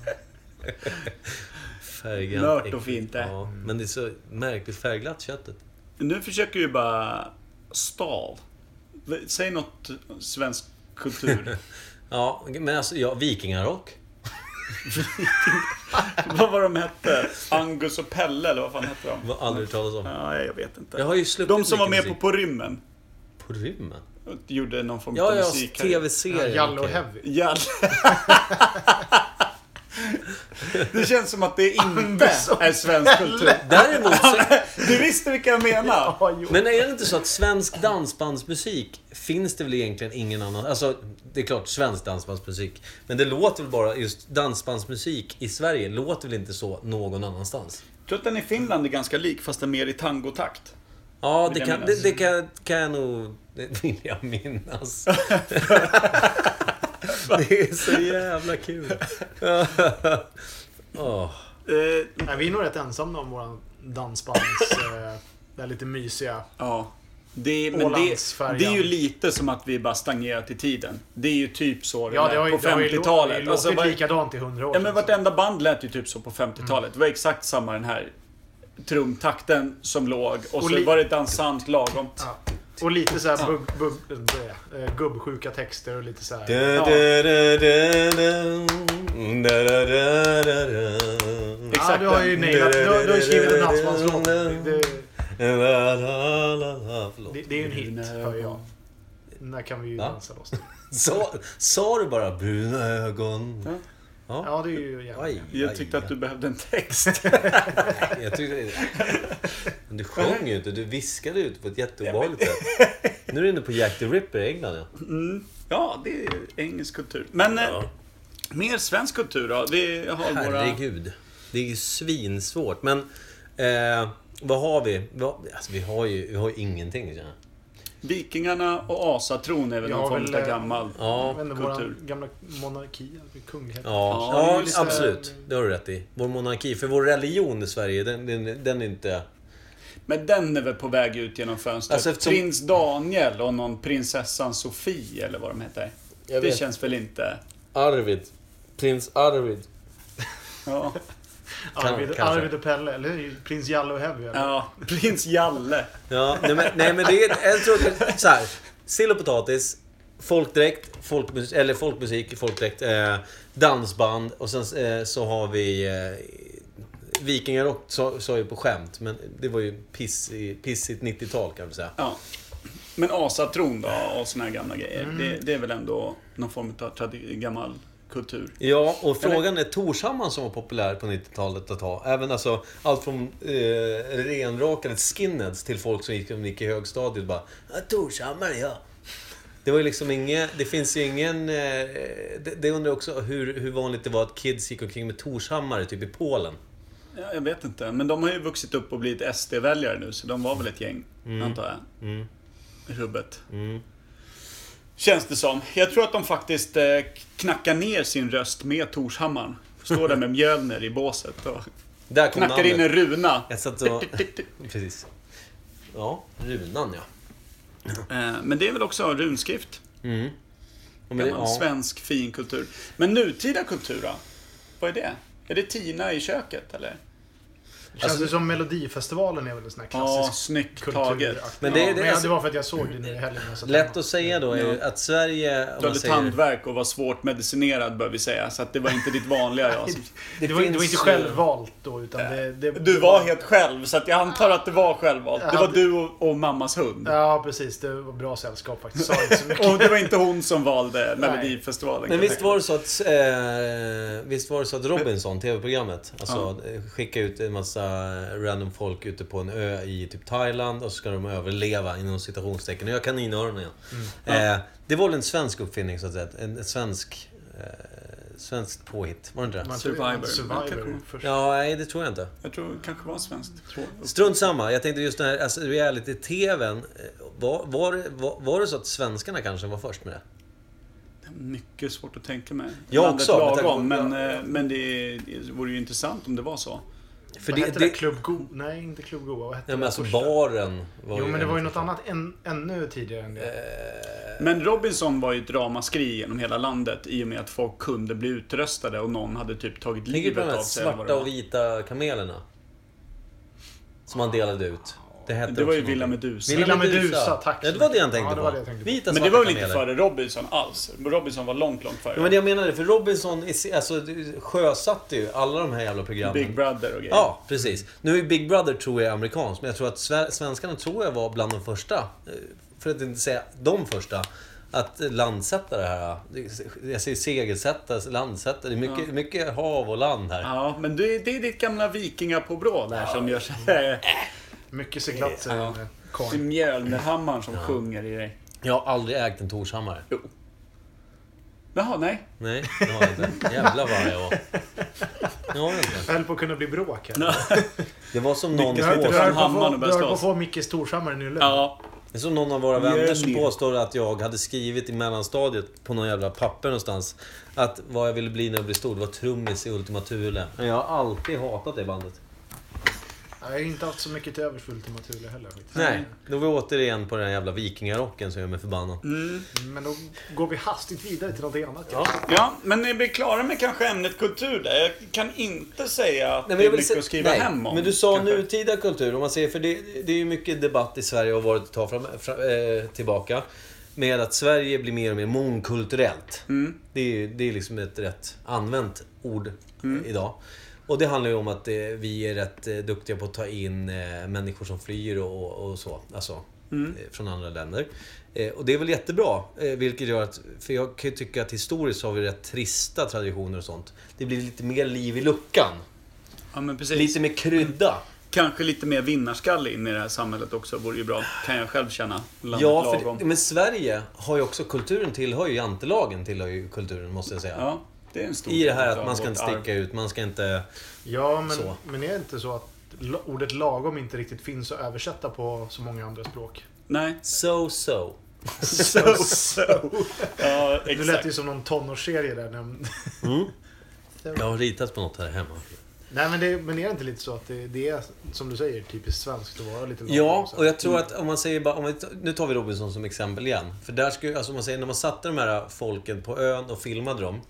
Färgglatt.
Mört och fint, eh. det.
Ja, men det är så märkligt färgglatt köttet.
Nu försöker ju bara stal. Säg något svensk kultur.
Ja, men alltså, ja, vikingarock.
vad var de hette? Angus och Pelle eller vad fan hette de?
Vad aldrig hört talas om.
Ja, jag vet inte.
Jag har ju sluppit
De som var med
mycket
på
musik.
På rymmen.
På rymmen?
och Gjorde någon form av
Ja, ja,
musik. här.
Ja,
tv-serien.
Jalle och
okej.
Heavy.
Jall. Det känns som att det inte är svensk kultur.
Däremot så...
Du visste vilka jag menar.
Ja, jo.
Men är det inte så att svensk dansbandsmusik finns det väl egentligen ingen annan... Alltså, det är klart svensk dansbandsmusik. Men det låter väl bara just dansbandsmusik i Sverige låter väl inte så någon annanstans?
Jag tror att den i Finland är ganska lik fast den är mer i tangotakt.
Ja,
Vill
det
jag
kan,
minnas.
det, det kan, kan jag nog... Det vill jag minnas. det är så jävla kul. Åh.
Eh,
Nej, vi är nog rätt ensamma om våran dansbands... eh, det här lite mysiga.
ja. Det, men det,
Ålandsfärjan.
det är ju lite som att vi bara stagnerat i tiden. Det är ju typ så
Ja,
lät
det har ju,
på
det har ju, låtit- det har ju
50-talet.
låtit
Alltså, var,
likadant i hundra år
ja,
sedan.
men vartenda band lät ju typ så på
Mm.
50-talet. Det var exakt samma den här trumtakten som låg och
Och
så
li-
var det dansant lagom.
Ja. Och lite så här bub, bub, eh, gubbsjuka texter och lite så här.
Mm,
Ja, du har ju nailat. Du har, du har ju skrivit en dansbandslåt. Det, det, det är ju en hit, hör jag. Den där kan vi ju
Va?
dansa loss till.
Sa- Sa du bara bruna ögon?
Ja.
Ja.
Ja, det är ju jävligt.
Aj,
Jag
aj,
tyckte att du behövde en text.
aj. Jag tyckte... Men du sjöng ju inte, du viskade ut på ett jätteobehagligt sätt. Nu är du inne på Jack the Ripper i England ja.
Ja, det är engelsk kultur. Men eh, mer svensk kultur då? Vi har våra...
Herregud. Det är ju svinsvårt. Men eh, vad har vi? Vad, alltså, vi har ju, vi har ju ingenting. känner jag.
Vikingarna och asatron är väl
Jag
någon
har
form
väl,
av
eh,
gammal
Ja,
Men
kultur.
vår gamla monarki, alltså kunglighet.
Ja,
Ja, det är
ja,
ju lite-
absolut. Det har du rätt i. Vår monarki. För vår religion i Sverige, den, den, den är inte...
Men den är väl på väg ut genom fönstret?
Alltså, eftersom-
Prins Daniel och någon prinsessan Sofie eller vad de heter.
Jag
Det
vet.
känns väl inte...
Arvid. Prins Arvid.
Ja,
Arvid,
kanske.
Arvid och Pelle, eller hur? prins Jalle och Heavy. eller?
ja prins Jalle.
Ja, nej men, nej, men det är... Jag tror att, så här, sill och potatis, folkdräkt, folkmusik, eller folkmusik, folkdräkt, eh, dansband och sen eh, så har vi... Eh, Vikingarock sa sa ju på skämt, men det var ju piss, i- pissigt 90-tal kan man säga.
Ja. Men asatron då och såna här gamla grejer.
Mm.
Det, det är väl ändå någon form av tradi- gammal kultur.
Ja, och frågan är Torshammar som var populär på 90-talet att ha. Även alltså allt från eh, renrakade skinheads till folk som gick, som gick i högstadiet bara ja, Torshammar ja. Det var ju liksom inget, det finns ju ingen... Eh, det, det undrar jag också hur, hur vanligt det var att kids gick omkring med Torshammare typ i Polen.
Ja, jag vet inte, men de har ju vuxit upp och blivit SD-väljare nu, så de var väl ett gäng,
Mm.
antar jag. I Rubbet. Känns det som. Jag tror att de faktiskt eh, knackar ner sin röst med Torshammaren. Står där med Mjölner i båset och
Där kom
knackar in en
namnet.
runa.
Jag satt och... Precis. Ja, runan ja.
Eh, Men det är väl också runskrift.
Ja, men det-
Gammal
ja.
svensk fin kultur. Men nutida kultur då? Vad är det? Är det Tina i köket eller?
Känns
Alltså-
det som Melodifestivalen är väl en sån här
Ja,
klassisk
snyggt
kulturaktig.
taget.
Men det är
ja,
det-
men jag-
alltså-
det var för att jag såg det nu i helgen. så att
Lätt
den-
att säga då är ju att Sverige... om
Du
man
hade
säger-
tandvärk och var svårt medicinerad bör vi säga, så att det var inte ditt vanliga jag. Som...
Det, var, det var
finns
inte
ju-
självvalt då, utan det, det...
Du var helt själv, så att jag antar att det var självvalt. Det var du och, och mammas hund.
Ja, precis. Det var bra sällskap faktiskt. Sa inte så mycket.
Och det var inte hon som valde Melodifestivalen.
Men
kan jag
visst
tänka.
var det så att, eh, visst var det så att Robinson, tv-programmet, alltså, eh, skickade ut en massa random folk ute på en ö i typ Thailand och så ska de överleva inom citationstecken. Och jag kan kaninöronen igen.
Mm.
Eh, det var väl en svensk uppfinning så att säga. En, en svensk, eh, svenskt påhitt. Var det inte det?
Man-
Survivor.
Survivor först.
Ja, nej det tror jag inte.
Jag tror det kanske var svenskt.
Strunt samma. Jag tänkte just den här alltså, reality-tvn. eh, Var, var, det- var, var det så att svenskarna kanske var först med det?
Det är mycket svårt att tänka mig.
Jag
Landet
också, med tanke på-
Lagom, men, eh, men det, det vore ju intressant om det var så.
För
vad
det,
hette
det,
det? Club Go? Nej, inte Club Go. Vad hette
ja, men
det
alltså
första?
baren var
Jo, men det
en
var ju
av
något
de- Eh,
annat än, ännu tidigare än det.
Men Robinson var ju ett ramaskri genom hela landet i och med att folk kunde bli utröstade och någon hade typ tagit
Tänker på de
livet
här
av sig. eller vad det
svarta
var.
och vita kamelerna? Som han delade ut. Det hette
Det var ju
också
Villa
någonting.
Medusa.
Villa Medusa, tack så
Ja, det var det jag
mycket.
tänkte
Ja, det
på.
var det jag tänkte på.
Vita
Men det
svarta
var väl inte
kameler.
före Robinson alls? Robinson var långt, långt före.
Ja, men det jag menade, för Robinson i se- alltså, det sjösatte ju alla de här jävla programmen.
Big Brother och grejer.
Ja, precis. Nu är Big Brother tror jag amerikansk, men jag tror att sve- svenskarna tror jag var bland de första, eh, för att inte säga de första, att eh, landsätta det här. Jag säger segelsätta, landsätta. Det är mycket, mycket hav och land här.
Ja, men det, det är ditt gamla vikingapåbrå där som gör så här. eh,
eh,
Mycket seglat eh, säger den här
Det är
karln.
Mjölnerhammaren som sjunger i dig.
Jag har aldrig ägt en Torshammare.
Jo. Jaha, nej.
Nej, det har jag inte. Jävlar vad jag var. Det har jag inte.
Jag höll på att kunna bli bråk här.
Det var som någon,
Du höll
påstår,
du höll på att
Hammaren
få-
och
du
började
höll på att
slåss.
få Micke Storshammar nu eller?
Ja.
det är som någon av våra vänner som
Mjölner.
påstår att jag hade skrivit i mellanstadiet på någon jävla papper någonstans att vad jag ville bli när jag blev stor, det var trummis i Ultima Thule. Men jag har alltid hatat det bandet.
Jag har ju inte haft så mycket till övers för Ultima Thule heller. faktiskt.
Nej, då är vi återigen på den här jävla vikingarocken som gör mig förbannad.
Men då går vi hastigt vidare till någonting annat.
Ja.
ja, men ni blir klara med kanske ämnet kultur där. Jag kan inte säga att det
Nej, men jag
är
vill
mycket
se-
att skriva
nej,
hem om.
Men du sa
kanske.
nutida kultur. Om man säger, för det, det är ju mycket debatt i Sverige och har varit ett tag fram, fram, eh, tillbaka. Med att Sverige blir mer och mer mångkulturellt.
Mm.
Det, är, ju- det är liksom ett rätt använt ord
Mm.
eh, idag. Och det handlar ju om att eh, vi är rätt eh, duktiga på att ta in eh, människor som flyr och, och, och så. Alltså,
Mm.
eh, från andra länder. Eh, och det är väl jättebra. Eh, vilket gör att, för jag kan ju tycka att historiskt har vi rätt trista traditioner och sånt. Det blir lite mer liv i luckan.
Ja, men precis.
Lite mer krydda.
Kanske lite mer vinnarskalle in i det här samhället också vore ju bra, kan jag själv känna. Landet
Ja, för,
lagom.
det- men Sverige har ju också kulturen tillhör ju jantelagen tillhör ju kulturen måste jag säga.
Ja, det är en stor
I det här
del av
att man ska
vårt
inte
arv.
sticka ut, man ska inte...
Ja, men,
Så.
men är det inte så att la- ordet lagom inte riktigt finns att översätta på så många andra språk?
Nej.
So so.
So, so. Ja,
Du lät
exakt.
ju som någon tonårsserie där. när-
Jag har ritat på något här hemma.
Nej, men, det, men är det inte lite så att det, det är, som du säger, typiskt svenskt att vara lite lagom?
Ja,
så här?
och jag tror
Mm.
att om man säger bara... Om vi, ta- nu tar vi Robinson som exempel igen. För där skulle, alltså om man säger, när man satte de här folken på ön och filmade dem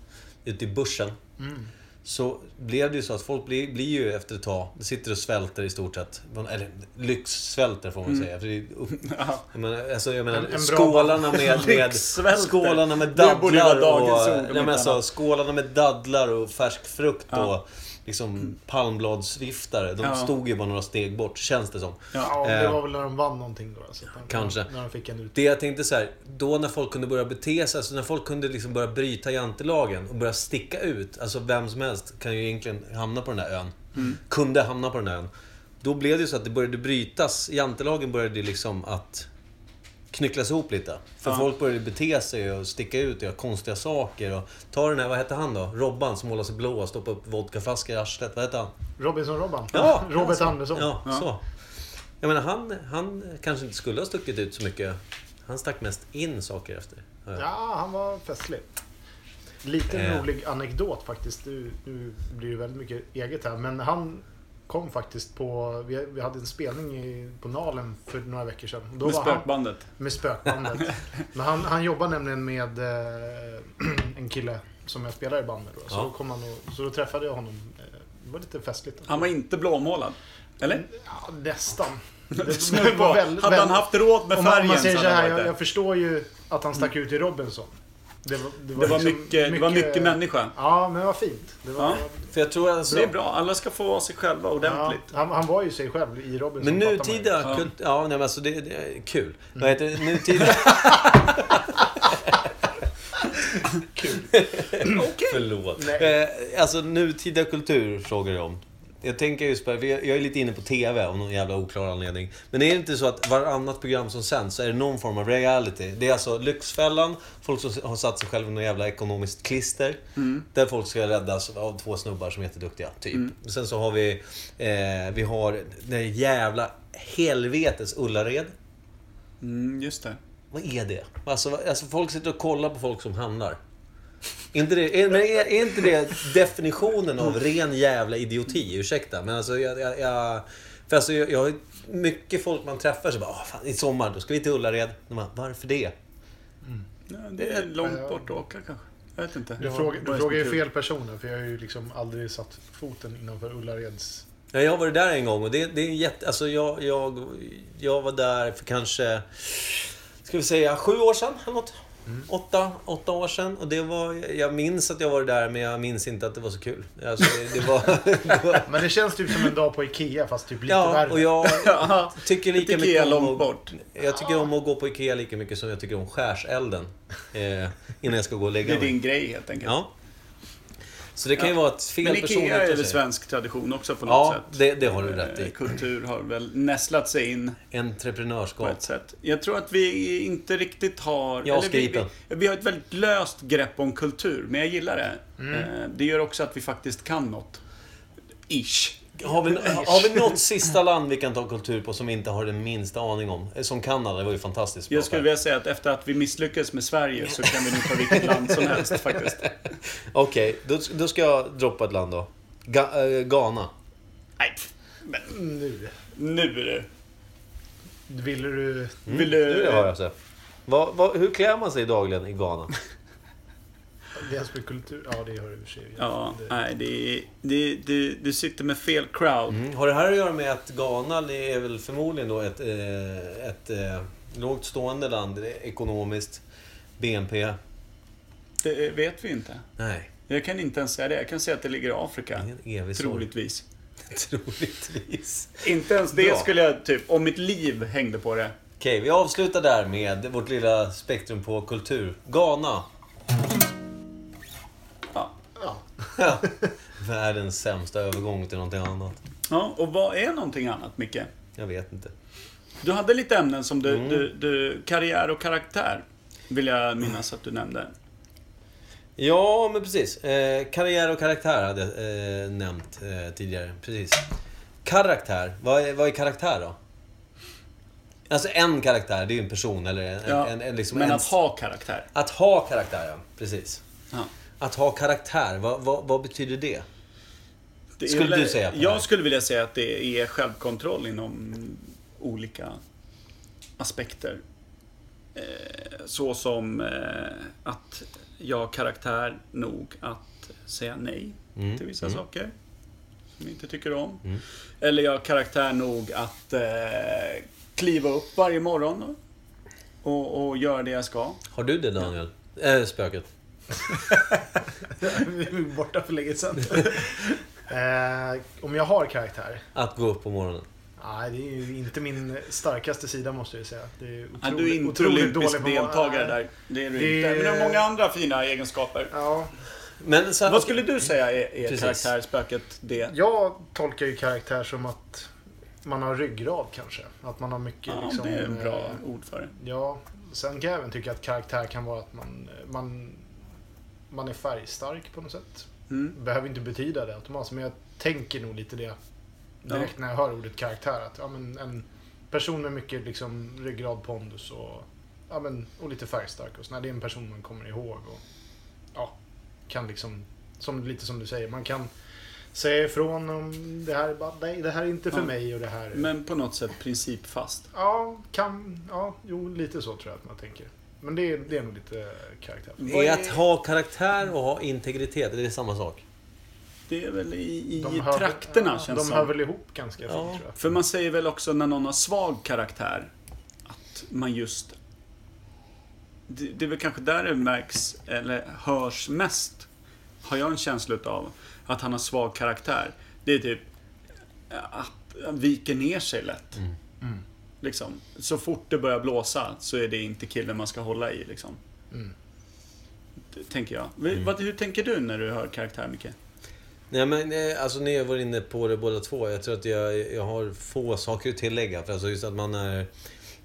ute i bussen.
Mm.
Så blev det ju så att folk blir, blir ju efter ett tag, sitter och svälter i stort sett. Eller lyxsvälter får man säga. För det är upp,
Mm. Ja.
Jag menar, alltså, jag menar
En- en bra-
skålarna med, med
Lyxsvälter.
skålarna med
Det borde ju vara
dadlar
dagens
och...
ord, om
Nej, men
inte
alltså,
annat.
skålarna med dadlar och färsk frukt
Ja.
och liksom palmbladsviftare. De
Ja.
stod ju bara några steg bort, känns det som.
Ja, det
Eh,
var väl när de vann någonting då. Alltså, att de-
Kanske.
När de fick en ut.
Det jag tänkte så här, då när folk kunde börja bete sig, alltså när folk kunde liksom börja bryta jantelagen och börja sticka ut. Alltså vem som helst kan ju egentligen hamna på den där ön. Kunde hamna på den där ön. Då blev det ju så att det började brytas, jantelagen började ju liksom att knycklas ihop lite. För
Ja.
folk började bete sig och sticka ut och göra konstiga saker. Och ta den här, vad hette han då? Robban som målade sig blå och stoppade upp vodkaflaskor i arslet. Vad hette han?
Robinson-Robban.
Ja,
Robert
alltså.
Andersson.
Ja,
Ja.
så. Jag menar, han, han kanske inte skulle ha stuckit ut så mycket. Han stack mest in saker efter. Ja.
Ja, han var festlig. Liten
Eh.
rolig anekdot faktiskt. Nu, nu blir det väldigt mycket eget här. Men han kom faktiskt på... Vi, vi hade en spelning i, på Nalen för några veckor sedan. Då
Med
var han-
spökbandet.
Med spökbandet. Men han, han jobbar nämligen med eh, en kille som jag spelar i band med. Då. Så,
Ja.
då kom han och, så då träffade jag honom. Eh, Det var lite festligt.
Han var inte blåmålad. Eller?
Ja, nästan. Det,
Det var- Hade han haft råd med
om man, om
färgen
man säger
så
så
hade
här,
han
jag,
varit
jag
det.
förstår ju att han stack ut i Robinson. Det var,
Det var
liksom
mycket, det var mycket människa.
Ja, men vad fint. Det var,
Ja.
För jag tror alltså...
Det är bra. Alla ska få vara sig själva ordentligt.
Ja, han, han var ju sig själv i Robinson. fattar
Men
man ju.
nutida
Ja.
kult... Ja, nej, men alltså det, det är kul. Vad heter det? Nutida...
Okej.
Förlåt.
Nej.
Eh, alltså nutida kultur frågar jag om. Jag tänker just på, för jag jag är lite inne på TV av någon jävla oklar anledning. Men är det inte så att varannat program som sänds så är det någon form av reality? Det är alltså Lyxfällan, folk som har satt sig själva i något jävla ekonomiskt klister. Där folk ska räddas av två snubbar som är jätteduktiga, typ. Sen så har vi, eh, vi har den jävla helvetes Ullared.
Mm, just det.
Vad är det? Alltså, vad- alltså folk sitter och kollar på folk som handlar. Inte det, är, men är, är inte det definitionen av ren jävla idioti? Ursäkta, men alltså jag... jag, jag för alltså jag, jag har mycket folk man träffar som bara "Åh, fan, i sommar, då ska vi till Ullared. De bara, varför det?
Ja, det är långt bort att åka kanske. Jag vet inte.
Du, frågar,
Vad
du
är
frågar ju
kul?
fel personer, för jag har ju liksom aldrig satt foten innanför Ullareds...
Ja, jag var där en gång och det, det är jätte... Alltså jag, jag, jag var där för kanske... Ska vi säga sju år sedan eller något? Åtta, åtta år sedan. Och det var, jag minns att jag var där men jag minns inte att det var så kul. Alltså, det, det, var, det var...
Men det känns typ som en dag på Ikea, fast typ lite
Ja,
värre.
och jag
Ja,
tycker lika
Ikea
mycket om
långt
att,
bort.
Jag tycker om att gå på Ikea lika mycket som jag tycker om skärselden. Eh, innan jag ska gå och
det
lägga
är
mig.
din grej helt enkelt.
Ja. Så det kan ju vara ett
Men
fel person
Ikea är
utav
väl
sig.
svensk tradition också på något
Ja,
sätt?
det, det har du rätt
Eh,
i.
Kultur har väl nästlat sig in på
Entreprenörskap.
ett sätt. Jag tror att vi inte riktigt har...
Jag
eller vi,
skriper.
vi, vi har ett väldigt löst grepp om kultur, men jag gillar det.
Mm.
Eh, Det gör också att vi faktiskt kan något. Ish.
Har vi, har vi något sista land vi kan ta kultur på som vi inte har den minsta aning om? Eh, Som Kanada, det var ju fantastiskt bra.
Jag skulle vilja säga att efter att vi misslyckades med Sverige så kan vi nu ta vilket land som helst faktiskt.
Okej, då, då ska jag droppa ett land då. Ga, eh, Ghana.
Nej, pff, men
Nu.
nu är det...
Ville du...
Vill du...
Mm. Nu har jag så. Vad, vad, hur klär man sig dagligen i Ghana?
Det är med kultur... Ja, det har du i och för sig.
Ja,
Det-
nej, det, är- det, det, du sitter med fel crowd.
Mm. Har det här att göra med att Ghana det är väl förmodligen då ett, eh, ett eh, lågt stående land eh, ekonomiskt? BNP?
Det eh, vet vi inte.
Nej,
Jag kan inte ens säga det. Jag kan säga att det ligger i Afrika.
ingen evig sorg.
Troligtvis.
Troligtvis.
Inte ens det
Bra.
skulle jag typ, om mitt liv hängde på det.
Okej, vi avslutar där med vårt lilla spektrum på kultur. Ghana.
Ja.
Världens sämsta övergång till någonting annat.
Ja, och vad är någonting annat, Micke?
Jag vet inte.
Du hade lite ämnen som
Mm.
du, du, du... Karriär och karaktär, vill jag minnas att du nämnde.
Ja, men precis. Eh, karriär och karaktär hade jag eh, nämnt eh, tidigare. Precis. Karaktär. Vad är, vad är karaktär då? Alltså en karaktär, det är ju en person eller en...
Ja,
en, en, liksom
men
en,
att ha karaktär.
Att ha karaktär, ja. Precis.
Ja.
Att ha karaktär, vad, vad, vad betyder det?
Det är
Skulle
väl-
du säga på det här?
Jag skulle vilja säga att det är självkontroll inom olika aspekter. Eh, Så som eh, att jag har karaktär nog att säga nej
Mm,
till vissa
mm.
saker som jag inte tycker om.
Mm.
Eller jag har karaktär nog att eh, kliva upp varje morgon och, och göra det jag ska.
Har du det Daniel? Eh, spöket.
Vi är borta för länge sedan. eh, om jag har karaktär?
Att gå upp på morgonen.
Nej, det är ju inte min starkaste sida måste jag säga. Det är
Nej, du är
otroligt,
inte
otroligt dålig på
olympisk
att vara-
deltagare där. Det är du
Det-
inte. Men du har många andra fina egenskaper.
Ja,
Men så här,
Vad skulle du säga är, är
Precis.
karaktärspöket det?
jag tolkar ju karaktär som att man har ryggrad kanske. Att man har mycket
Ja,
liksom...
det är ett bra
eh,
ord för det.
Ja, sen kan jag även tycka att karaktär kan vara att man, eh, man, man är färgstark på något sätt.
Mm.
behöver inte betyda det automatiskt, men jag tänker nog lite det direkt när jag hör ordet karaktär. Att, ja, men en person med mycket liksom, ryggrad, pondus och, ja, men, och lite färgstark. Och sådär. Det är en person man kommer ihåg. Och, ja, kan liksom, som, lite som du säger, man kan säga ifrån om det här, är bara, nej, det här är inte för
Ja.
mig och det här är-"
Men på något sätt principfast.
Ja, kan, ja, jo, lite så tror jag att man tänker. Men det är, det är nog lite karaktär.
Vad
Är att ha karaktär och ha integritet, det är samma sak.
Det är väl i, i
hör-
trakterna
ja,
känns
De
som.
hör väl ihop ganska fint
Ja.
tror jag.
För man säger väl också när någon har svag karaktär att man just... Det, det är väl kanske där det märks, eller hörs mest, har jag en känsla av att han har svag karaktär. Det är typ att han viker ner sig lätt.
Mm.
Liksom. Så fort det börjar blåsa så är det inte killen man ska hålla i. Liksom.
Mm.
Det tänker jag. Vi-
Mm.
Vad, hur tänker du när du hör karaktär, Micke?
Nej men eh, alltså ni har varit inne på det båda två. Jag tror att jag, jag har få saker att tillägga. För alltså just att man är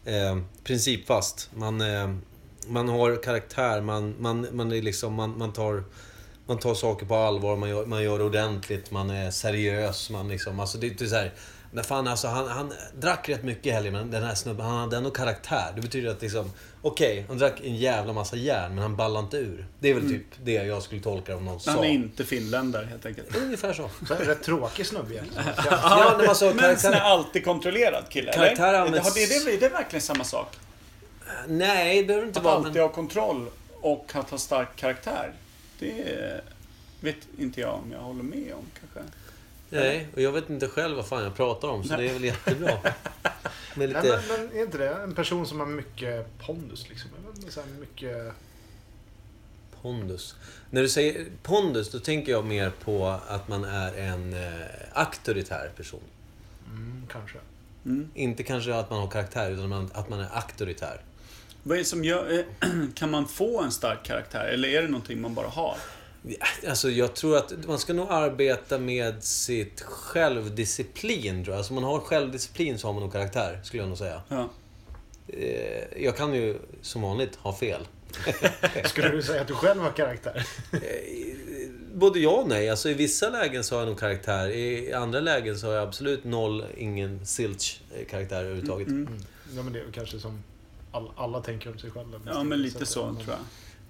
eh, principfast. Man, eh, man har karaktär, man, man, man är liksom, man, man tar man tar saker på allvar, man gör, man gör det ordentligt, man är seriös. Man liksom, alltså det är inte så här, men fan alltså, han, han drack rätt mycket i helgen, men den här snubben, han hade ändå karaktär. Det betyder att liksom, okej, han drack en jävla massa järn, men han ballade inte ur. Det är väl typ det jag skulle tolka om någon sa.
Mm. Han är inte finländare, helt enkelt.
Ungefär så.
Så här, rätt tråkig snubbe egentligen.
Ja, när man sa
Men sån här
karaktär...
alltid kontrollerad kille,
Karaktär
eller?
Alltså, används-
Har det, det, är det verkligen samma sak?
Nej, det behöver inte
Att
vara...
alltid
Men...
ha kontroll och att ha stark karaktär? Det vet inte jag om jag håller med om kanske.
Nej, och jag vet inte själv vad fan jag pratar om, så det är väl jättebra. Med
Nej,
lite...
men, men är inte det en person som har mycket pondus liksom? Eller Så här mycket...
Pondus. När du säger pondus, då tänker jag mer på att man är en eh, auktoritär person.
Mm, kanske.
Inte kanske att man har karaktär, utan man- att man är auktoritär.
Vad är det som gör... eh, Kan man få en stark karaktär eller är det någonting man bara har?
Ja, Alltså jag tror att man ska nog arbeta med sitt självdisciplin, tror jag. Alltså om man har självdisciplin så har man nog karaktär, skulle jag nog säga.
Ja.
Eh, jag kan ju som vanligt ha fel.
Skulle du säga att du själv har karaktär?
Eh, Både ja och nej. Alltså, I vissa lägen så har jag nog karaktär. I andra lägen så har jag absolut noll, ingen silch eh, karaktär överhuvudtaget.
Mm,
Mm. Ja, men det är väl kanske som all, alla tänker om sig själva.
Ja, men lite så tror jag.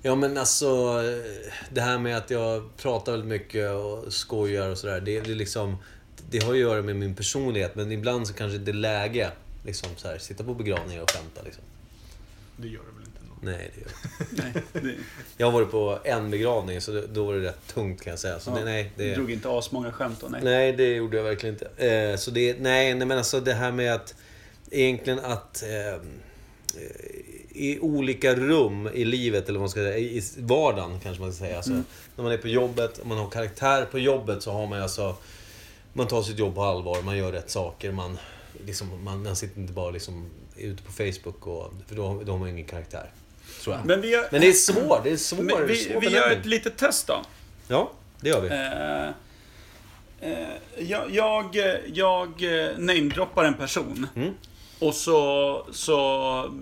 Ja men alltså, eh, det här med att jag pratar väldigt mycket och skojar och sådär. Det, det, är liksom, det har ju att göra med min personlighet. Men ibland så kanske det är läge. Liksom så här, sitta på begravningar och skämta liksom.
Det gör det väl inte? Någon.
Nej, det gör jag inte.
Nej, det,
Jag har varit på en begravning, så då- då var det rätt tungt kan jag säga. Så
ja.
det, nej, det...
drog inte asmånga skämt då, nej.
Nej, det gjorde jag verkligen inte. Eh, så det, nej, nej, men alltså det här med att egentligen att eh, eh, i olika rum i livet, eller vad man ska säga, i i vardagen kanske man ska säga.
Mm.
Alltså, När man är på jobbet, om man har karaktär på jobbet så har man ju alltså, man tar sitt jobb på allvar, man gör rätt saker, man, liksom, man, man sitter inte bara liksom ute på Facebook, och, för då, då har man ingen karaktär. Tror jag. Men,
Men vi gör,
det är svårt, det är svår,
men
svår
vi, vi
bedömning.
gör ett litet test då.
Ja, det gör vi.
Eh, eh, jag, jag, eh, jag eh, namedroppar en person.
Mm.
Och så, så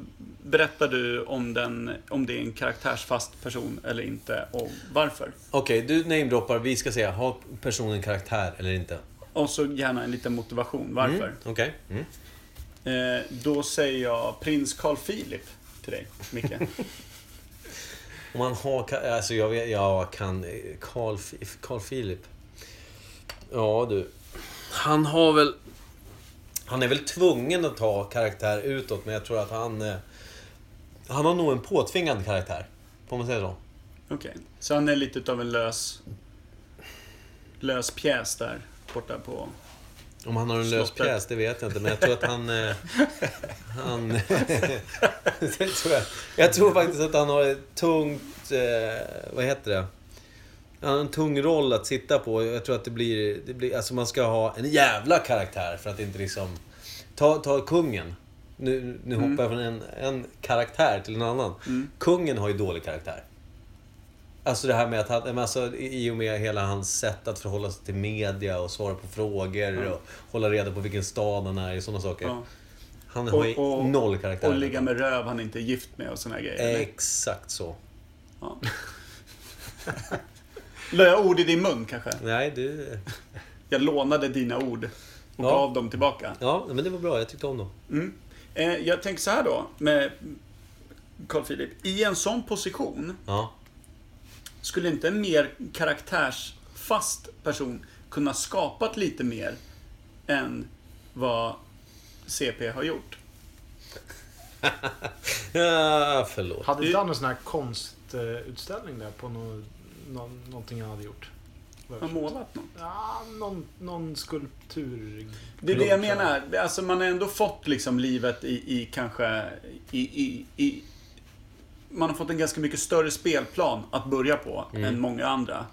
berättar du om, den, om det är en karaktärsfast person eller inte och varför.
Okej, du namedroppar. Vi ska säga, har personen karaktär eller inte?
Och så gärna en liten motivation varför.
Mm, Okej. Mm.
Eh, då säger jag prins Carl Philip till dig, Micke.
Om man har... ka- Alltså jag, vet, jag kan... eh, Carl, Fi- Carl Philip. Ja, du. Han har väl... Han är väl tvungen att ta karaktär utåt, men jag tror att han... eh, Han har nog en påtvingad karaktär. Får man säga så?
Okej, så han är lite utav en lös, lös pjäs där borta på...
Om han har en lös
Slottet.
pjäs, det vet jag inte. Men jag tror att han... eh, han det tror jag. jag tror faktiskt att han har ett tungt... Eh, vad heter det? Han har en tung roll att sitta på. Jag tror att det blir... Det blir alltså man ska ha en jävla karaktär för att inte liksom... Ta, ta kungen. Nu, nu
Mm.
hoppar jag från en, en karaktär till en annan. Kungen har ju dålig karaktär. Alltså det här med att han, men alltså, i i och med hela hans sätt att förhålla sig till media och svara på frågor och hålla reda på vilken stad han är i sådana saker.
Ja.
Han har ju
Och, och,
noll karaktär.
och ligga med röv han inte är gift med och såna här grejer. eller?
Exakt så.
Ja. La jag ord i din mun kanske?
Nej, du...
Jag lånade dina ord och
Ja.
gav dem tillbaka.
Ja, men det var bra. Jag tyckte om dem.
Eh, jag tänker så här då, med Carl Philip. I en sån position,
Ja.
skulle inte en mer karaktärsfast person kunna skapat lite mer än vad CP har gjort?
ja förlåt.
Hade inte han en sån här konstutställning där på nå, nå, någonting han hade gjort?
Har målat något?
Ja, någon, någon skulptur...
Det är det jag menar. Alltså man har ändå fått liksom livet i, i kanske... I, i, i, man har fått en ganska mycket större spelplan att börja på än många andra.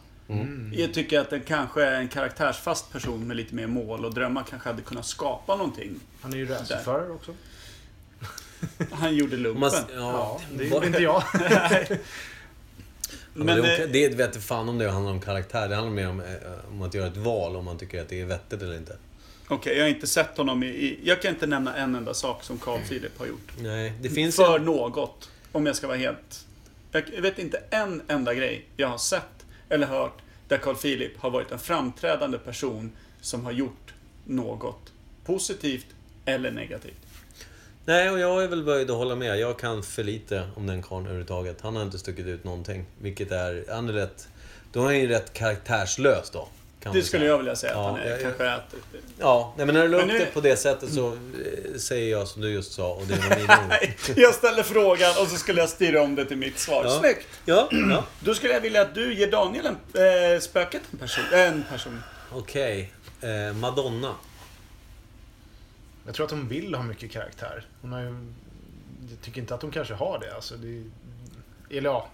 Jag tycker att en, kanske en karaktärsfast person med lite mer mål och drömmar kanske hade kunnat skapa någonting.
Han är ju racerförare också.
Han gjorde
Om
lumpen.
Man, ja,
Ja, det
Vad-
är inte jag.
men
Men,
det,
eh,
det vet jag fan om det handlar om karaktär. Det handlar mer om, eh, om att göra ett val, om man tycker att det är vettigt eller inte.
Okej, jag har inte sett honom i, i... Jag kan inte nämna en enda sak som Carl Philip har gjort.
Nej, det finns
för något, om jag ska vara helt... Jag vet inte en enda grej jag har sett eller hört där Carl Philip har varit en framträdande person som har gjort något positivt eller negativt.
Nej, och jag är väl böjd att hålla med. Jag kan för lite om den karln överhuvudtaget. Han har inte stuckit ut någonting. Vilket är... Han är rätt... Då är han ju rätt karaktärslös då. Kan
Det
man
skulle
säga.
jag vilja säga att
Ja,
han är.
jag- jag-
kanske att...
Ja, nej, men när du la upp
Men nu-
det på det sättet så eh, säger jag som du just sa och det var mina ord.
Nej, jag ställer frågan och så skulle jag styra om det till mitt svar.
Ja.
Snyggt!
Ja, ja.
Då skulle jag vilja att du ger Daniel en, eh, spöket en person. En person.
Okej. Eh, Madonna.
Jag tror att hon vill ha mycket karaktär. Hon har ju... Jag tycker inte att hon kanske har det. Alltså, det eller ja,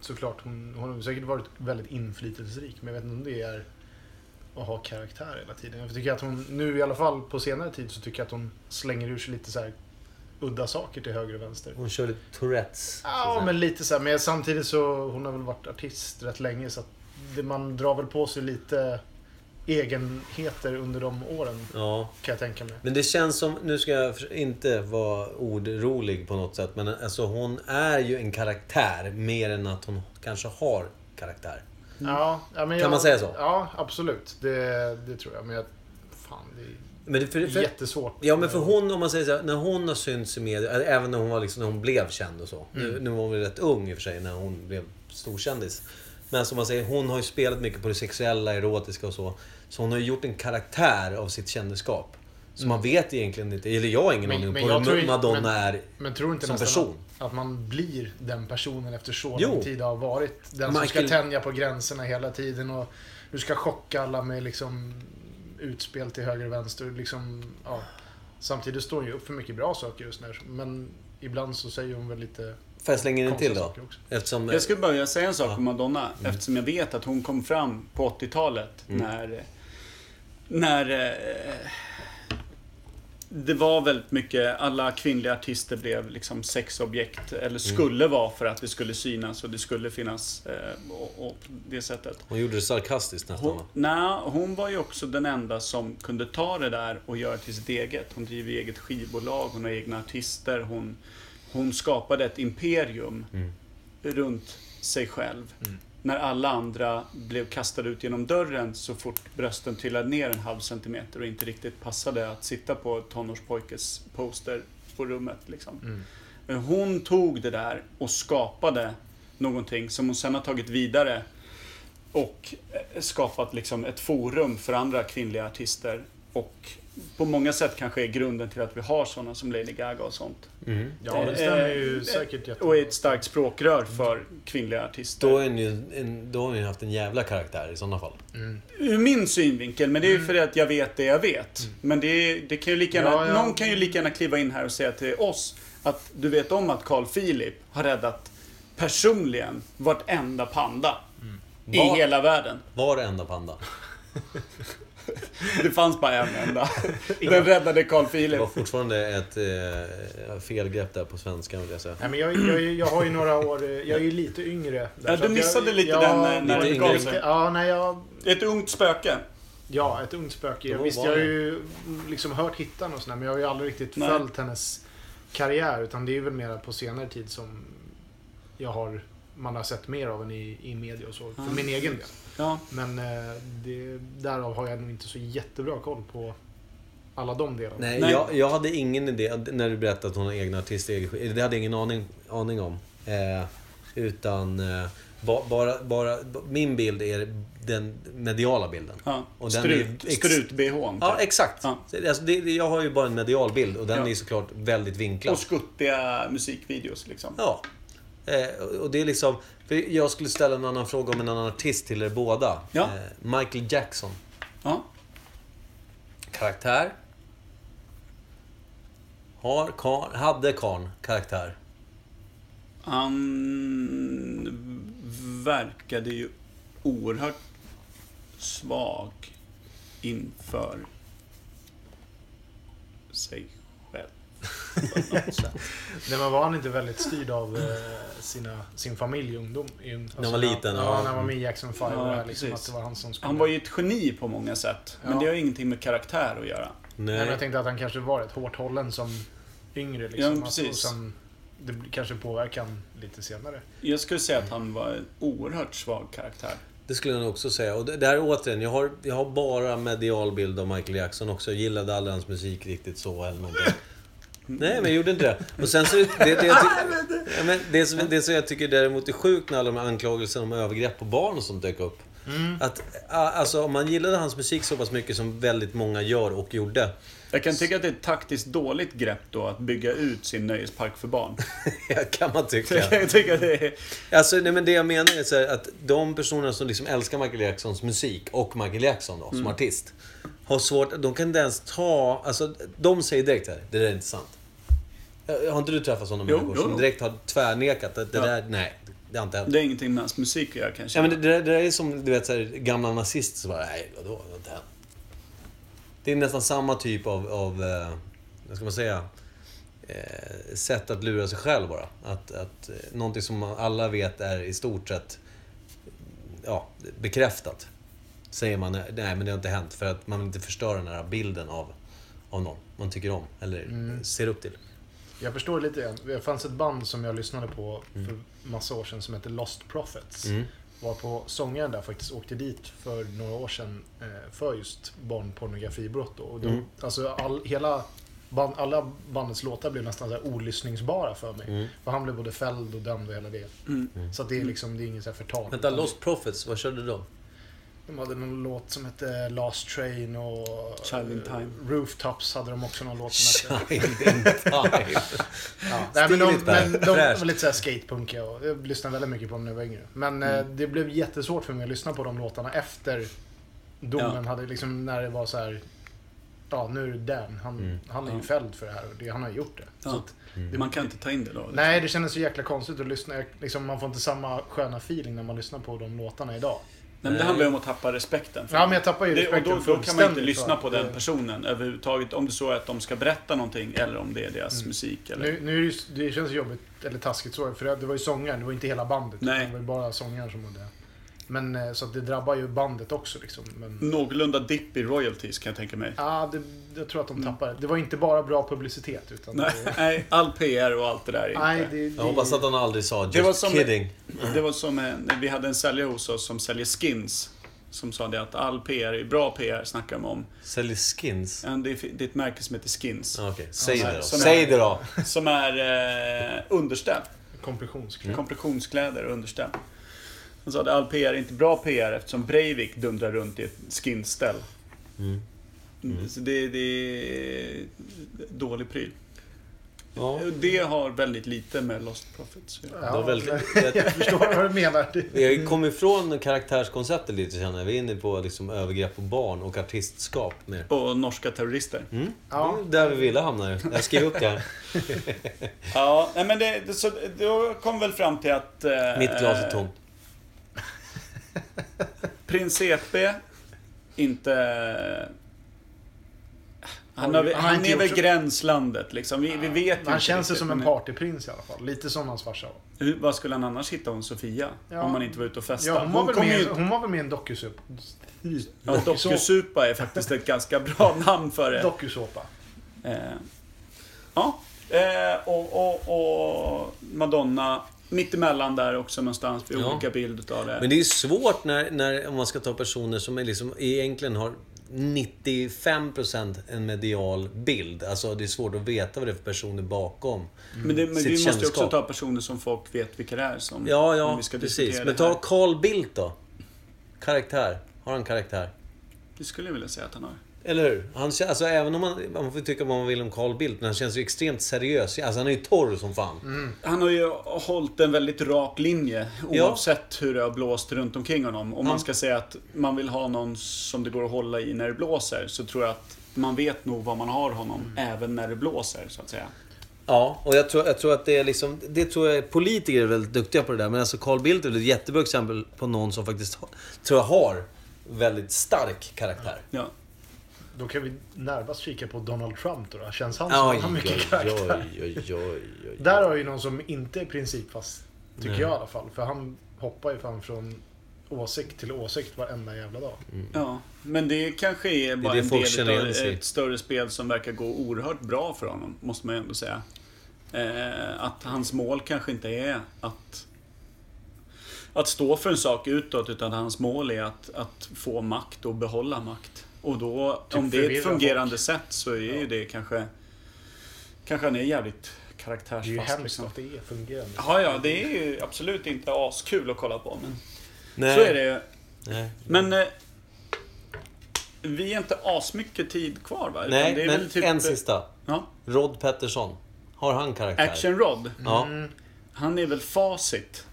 såklart. Hon, hon har säkert varit väldigt inflytelserik. Men jag vet inte om det är att ha karaktär hela tiden. Jag tycker att hon, nu i alla fall på senare tid, så tycker jag att hon slänger ur sig lite så här udda saker till höger och vänster.
Hon kör lite Tourettes. så att
Ja,
säga.
men lite så här. Men samtidigt så, hon har väl varit artist rätt länge. Så att det, man drar väl på sig lite egenheter under de åren,
Ja.
kan jag tänka mig.
Men det känns som, nu ska jag för- inte vara ordrolig på något sätt, men alltså hon är ju en karaktär mer än att hon kanske har karaktär.
Ja, ja, men
Mm. Kan man säga så?
Ja, absolut. Det, det tror jag. Men jag, fan, det
Men det, för,
är
för,
jättesvårt.
Ja men för hon, om man säger så här, när hon har synts i media, eller även när hon, var liksom, när hon blev känd och så. Nu,
Mm.
nu var hon väl rätt ung i och för sig när hon blev storkändis. Men som man säger, hon har ju spelat mycket på det sexuella, erotiska och så. Så hon har ju gjort en karaktär av sitt kändisskap. Så man vet egentligen inte, eller jag har ingen
Mm. Men-
aning
men
på
jag tror
hur
ju-
Madonna
men-
är.
Men tror inte
Som
nästan
person.
Att, att man blir den personen efter så
Jo.
lång tid har varit. Den som ska
Michael-
tänja på gränserna hela tiden och du ska chocka alla med liksom utspel till höger och vänster. Liksom, ja. Samtidigt står hon ju upp för mycket bra saker just nu. Men ibland så säger hon väl lite
Får jag slänga in en till
konstiga
då?
saker också.
Eftersom...
Jag skulle börja säga en sak om Madonna eftersom jag vet att hon kom fram på 80-talet när... När... eh, det var väldigt mycket, alla kvinnliga artister blev liksom sexobjekt, eller skulle vara för att det skulle synas och det skulle finnas eh, och, och det sättet.
Hon gjorde det sarkastiskt nästan
Hon,
va?
nej, hon var ju också den enda som kunde ta det där och göra till sitt eget. Hon driver eget skivbolag, hon har egna artister, hon, hon skapade ett imperium runt sig själv. När alla andra blev kastade ut genom dörren så fort brösten trillade ner en halv centimeter och inte riktigt passade att sitta på tonårspojkes poster på rummet. Liksom. Men Hon tog det där och skapade någonting som hon sen har tagit vidare och eh, skapat liksom ett forum för andra kvinnliga artister. Och på många sätt kanske är grunden till att vi har sådana som Lady Gaga och sånt.
Mm.
Ja, det stämmer
Eh,
ju säkert jättebra.
Och är ett starkt språkrör för kvinnliga artister.
Då, är ni, en, då har ni haft en jävla karaktär i sådana fall.
Ur min synvinkel, men det är ju för att jag vet det jag vet. Men det, är- det kan ju lika gärna,
Ja, ja.
någon kan ju lika gärna kliva in här och säga till oss att du vet om att Carl Philip har räddat personligen vartenda panda i
Var-
hela världen.
Varenda panda.
Det fanns bara en enda. Den räddade Carl Philip.
Det var fortfarande ett eh, felgrepp där på svenska vill jag säga.
Nej, men jag, jag, jag har ju några år, eh, jag är ju lite yngre.
Ja, du
Så att
missade
jag,
lite
jag,
den eh,
lite
när det
yngre.
gav
jag-
sig.
Ja, nej, jag,
Ett ungt spöke.
ja, ett ungt spöke. Jag,
Då
visst,
var
jag har
det.
ju liksom hört hittan och sådär, men jag har ju aldrig riktigt
Nej.
följt hennes karriär. Utan det är ju väl mera på senare tid som jag har, man har sett mer av henne i, i media och så, för
Ja.
min egen del.
Ja.
Men eh, det, därav har jag nog inte så jättebra koll på alla de delarna.
Nej,
Nej.
Jag, jag hade ingen idé när du berättade att hon har egna artister. egen skiv- Det hade jag ingen aning, aning om. Eh, utan eh, ba, bara, bara, b- min bild är den mediala bilden.
Ja.
Och den
Strut,
är ex-
Strut-bhn.
Ja,
typ.
exakt.
Ja.
Så det- Alltså, det, det- jag har ju bara en medial bild och den
Ja.
är såklart väldigt vinklad.
och skuttiga musikvideos liksom.
Ja. Eh, och- och det är liksom... För jag skulle ställa en annan fråga om en annan artist till er båda.
Ja.
Eh, Michael Jackson.
Ja.
Karaktär? Har karn, hade karn karaktär?
Han verkade ju oerhört svag inför sig själv. på något sätt.
Nej, men var han inte väldigt styrd av eh, sina, sin familj i ungdom? I, ung-
han var liten,
Ja,
ja.
när han var med i Jackson 5.
Ja,
och det här, liksom,
precis.
att det var han som skulle...
Han var ju ett geni på många sätt, men
Ja.
det har ju ingenting med karaktär att göra.
Nej, men
Nej.
jag tänkte att han kanske var rätt hårt hållen som yngre. Liksom,
Ja, men
Att-
precis.
Och sen, det bl- kanske påverkar han lite senare.
Jag skulle säga att han var en oerhört svag karaktär.
Det skulle jag nog också säga. Och det det här är återigen, jag har, jag har bara medial bild av Michael Jackson också. Jag gillade aldrig hans musik riktigt så eller någonting. Nej, men jag gjorde inte det. Och sen så, är det, det, det, jag ty- ja, Mm. men det, som, det som jag tycker däremot är sjukt när alla de här anklagelserna om övergrepp på barn och sånt dök upp. Att, a- alltså, om man gillade hans musik så pass mycket som väldigt många gör och gjorde.
Jag kan tycka att det är ett taktiskt dåligt grepp då att bygga ut sin nöjespark för barn.
kan man tycka.
Jag kan tycka att det är...
Alltså, nej, men det jag menar är så här, att de personerna som liksom älskar Michael Jacksons musik och Michael Jackson då,
Mm.
som artist. Har svårt, de kan inte ens ta, alltså de säger direkt här, det där är inte sant. Eh, Har inte du träffat sådana
Jo,
människor
jo,
som
jo.
direkt har tvärnekat att det
Ja.
där, nej, det har inte hänt.
Det är ingenting med hans musik att göra kanske.
Ja, men det, det, där- det där är som du vet, så här, gamla nazister som bara, nej vadå, det har inte hänt. Det är nästan samma typ av, av eh, vad ska man säga, eh, sätt att lura sig själv bara. Att, att eh, någonting som man alla vet är i stort sett ja, bekräftat. Säger man, nej men det har inte hänt. För att man vill inte förstöra den här bilden av, av någon man tycker om eller
Mm.
ser upp till.
Jag förstår lite grann. Det fanns ett band som jag lyssnade på för massa år sedan som hette Lost Prophets.
Mm.
Var på sångaren där faktiskt åkte dit för några år sedan eh, för just barnpornografibrott. Då. Och de,
Mm.
alltså all, hela band, alla bandets låtar blev nästan så här olyssningsbara för mig.
Mm.
För han blev både fälld och dömd och hela det.
Mm.
Så att det är liksom, det är inget så här förtal.
Vänta,
Utan
Lost Prophets, vad körde de?
De hade någon låt som hette Last Train och... eh,
Child in Time.
Rooftops hade de också någon låt som hette.
Child in time.
Ja. Nej, men de,
Stiligt där.
men de
Fräscht.
var lite såhär skatepunkiga och jag lyssnade väldigt mycket på dem när jag var yngre. Men eh, det blev jättesvårt för mig att lyssna på de låtarna efter domen
Ja.
hade liksom, när det var så här. Ja, nu är det Dan. Han, han är ju
Ja.
fälld för det här och det, han har gjort det. Så
Ja.
att,
Man kan inte ta in det då.
nej, det kändes så jäkla konstigt att lyssna. Jag- Liksom, man får inte samma sköna feeling när man lyssnar på de låtarna idag.
men det handlar ju om att tappa respekten. för
Ja, men jag tappar ju
det, och
respekten
då, då kan man inte
fullständigt
lyssna
för-
på den personen överhuvudtaget. Om det så är att de ska berätta någonting eller om det är deras
Mm.
musik. Eller...
Nu, nu är det, ju- det känns ju jobbigt, eller taskigt så, för det var ju sångaren, det var ju inte hela bandet.
Nej.
Det var ju bara sångaren som mådde. Men eh, så att det drabbar ju bandet också liksom. Men,
Mm. Någorlunda dipp i royalties kan jag tänka mig.
ja, det, jag tror att de tappar det. Det var inte bara bra publicitet utan... det-
Nej, all PR och allt det där är inte.
Nej, det, det,
Jag hoppas att han aldrig sa just
Det var som-
kidding.
Det var som en, vi hade en säljare hos oss som säljer skins. Som sa det att all PR är bra PR, snackar de om.
Säljer skins?
Ja, Det är det är ett märke som heter Skins.
Okej, säg
Ja,
det då.
som är-
Säg det då!
Som är eh, underställ.
Mm.
kompressionskläder.
Kompressionskläder och underställ. Han sa att all PR är inte bra PR eftersom Breivik dundrar runt i ett skinställ.
Mm.
Så det, det är dålig pryl.
Ja,
Det har väldigt lite med Lost Profits att göra.
det var
Ja,
väldigt...
jag förstår vad du menar. Det-
Jag kom ifrån karaktärskonceptet lite känner jag. Vi är inne på liksom övergrepp på barn och artistskap mer.
Och norska terrorister.
Mm?
Ja.
Det är där vi ville hamna ju. Jag skrev upp det här.
Ja, nej men det, det, så, då kom väl fram till att... eh,
Mitt glas är tomt.
Prins EP, inte... Han,
Har
har,
ju-
han,
han har inte
är
gjort
väl
så-
gränslandet liksom. Vi, vi vet ju
Han
inte
känns ju
riktigt,
som en
men
partyprins i alla fall. Lite som hans farsa var.
Hur, vad skulle han annars hitta om Sofia?
Ja.
Om han inte var ute och festade.
Ja, hon, var väl
kom
med,
ju-
hon var väl med i en docusup-
Ja, Docusupa är faktiskt ett ganska bra namn för det.
dokusåpa.
Eh, ja. Eh, och, och, och Madonna mittemellan där också någonstans. Vi har
Ja.
olika bild utav det.
Men det är ju svårt när, när om man ska ta personer som är liksom, egentligen har 95% en medial bild. Alltså det är svårt att veta vad det är för personer bakom.
Men, det, men
Sitt
vi måste ju också
kändisskap.
ta personer som folk vet vilka det är som
Ja,
om
ja,
vi ska
precis.
diskutera
Men
det här.
ta Carl Bildt då. Karaktär. Har han karaktär?
Det skulle jag vilja säga att han har.
Eller hur? Han, kän- alltså, även om man, man får tycka vad man vill om Carl Bildt, men han känns ju extremt seriös. Alltså han är ju torr som fan.
Han har ju hållit en väldigt rak linje
Ja.
oavsett hur det har blåst runt omkring honom. Om man
Han-
ska säga att man vill ha någon som det går att hålla i när det blåser så tror jag att man vet nog vad man har honom även när det blåser så att säga.
Ja, och jag tror, jag tror att det är liksom... Det tror jag politiker är väldigt duktiga på det där. Men alltså Carl Bildt är väl ett jättebra exempel på någon som faktiskt har, tror jag har väldigt stark karaktär.
Ja.
Då kan vi närmast kika på Donald Trump då. då. Känns han som
Oj,
han har
oj,
mycket
oj,
karaktär?
oj, oj, oj.
Där har ju någon som inte är principfast. Tycker
Nej.
jag i alla fall. För han hoppar ju fan från åsikt till åsikt varenda jävla dag.
ja. Men det kanske är bara
det folk
en
känner
del
igen
av
sig i.
ett större spel som verkar gå oerhört bra för honom, måste man ju ändå säga. Eh, att hans mål kanske inte är att att stå för en sak utåt utan hans mål är att, att få makt och behålla makt. Och då,
Typ
om det är
förvirra
ett fungerande sätt så är ju det kanske... Kanske han är jävligt
Det är ju
karaktärsfast.
hemskt
liksom.
att det är fungerande.
Ja, ja, det är ju absolut inte askul att kolla på. Men
Nej,
så är det ju.
Nej.
Men... Eh, vi är inte asmycket tid kvar va? Utan
Nej,
det är
men
väl typ-
en sista.
Ja,
Rod Pettersson. Har han karaktär?
Action Mm. Rod.
Ja,
Han är väl facit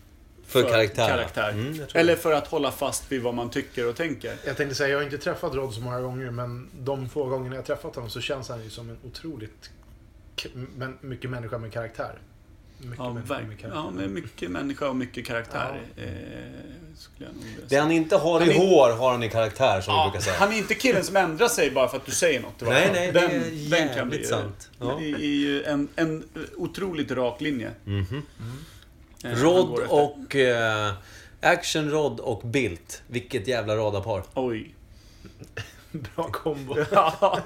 för, karaktär.
karaktär.
Mm, jag tror
Eller för att hålla fast vid vad man tycker och tänker.
Jag tänkte säga, jag har inte träffat Rod så många gånger men de få gångerna jag träffat honom så känns han ju som en otroligt k- men, mycket människa med karaktär. Mycket
Ja,
människa
verkligen.
med karaktär.
Ja, med mycket människa och mycket karaktär. Eh, skulle jag nog vilja
Det
säga.
han inte har
Han
i
är-
hår har han i karaktär, som vi
Ja,
brukar säga.
han är inte killen som ändrar sig bara för att du säger något. i varje
Nej,
fall.
nej, det är jävligt sant. Ja.
Det är ju en, en otroligt rak linje. Eh, som han
Mhm. Rod
går efter.
och... Eh, action Rod och Bildt. Vilket jävla radarpar.
Oj.
Bra kombo.
Ja.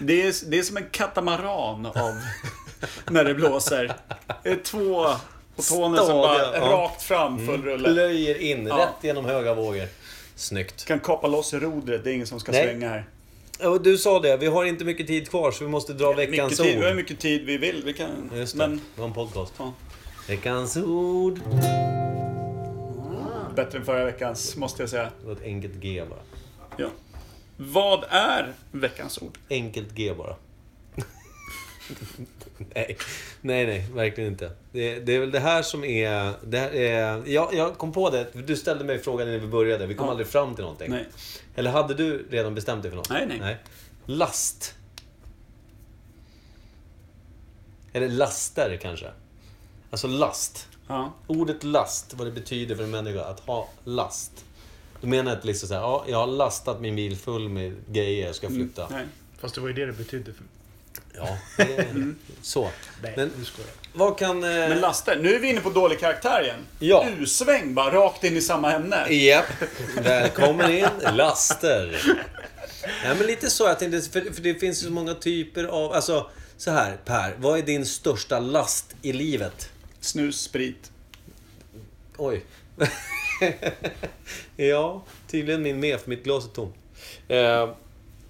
det, är, det är som en katamaran av när det blåser. Det är två på tånen som bara
Stadiga, ja. Mm.
rakt fram full rulle.
Plöjer in,
Ja.
rätt genom höga vågor. Snyggt.
Kan kapa loss rodret, det är ingen som ska
Nej.
svänga här.
Och du sa det, vi har inte mycket tid kvar så vi måste dra
Mycket
veckans
tid, vi har
ord.
mycket tid vi vill. Vi kan,
Just det,
men
det var en podcast.
ja,
Veckans ord.
bättre än förra veckans, måste jag säga.
Det var ett enkelt G bara.
Ja. Vad är veckans ord?
Enkelt G bara. nej. nej, nej, verkligen inte. Det, det är väl det här som är... Det här är jag, jag kom på det, du ställde mig frågan när vi började. Vi kom
Ja.
aldrig fram till någonting.
Nej.
Eller hade du redan bestämt dig för något?
Nej, nej.
Last. Eller laster kanske. Alltså last.
Ja.
Ordet last, vad det betyder för en människa att ha last. Då menar jag inte liksom så här, ja, jag har lastat min bil full med grejer, jag ska
Mm.
flytta.
Nej.
Fast det var ju det det betydde. För...
Ja, det är så.
Nej,
Men
nu skojar
vad kan... eh,
Men laster, nu är vi inne på dålig karaktär igen.
Ja.
U-sväng bara, rakt in i samma ämne.
Japp. Välkommen in, laster. Nej, men lite så. Jag tänkte, för, för det finns ju så många typer av... Alltså, så här Per. Vad är din största last i livet?
Snus, sprit.
Oj. ja, tydligen min med, för mitt glas är tomt. Eh, ja,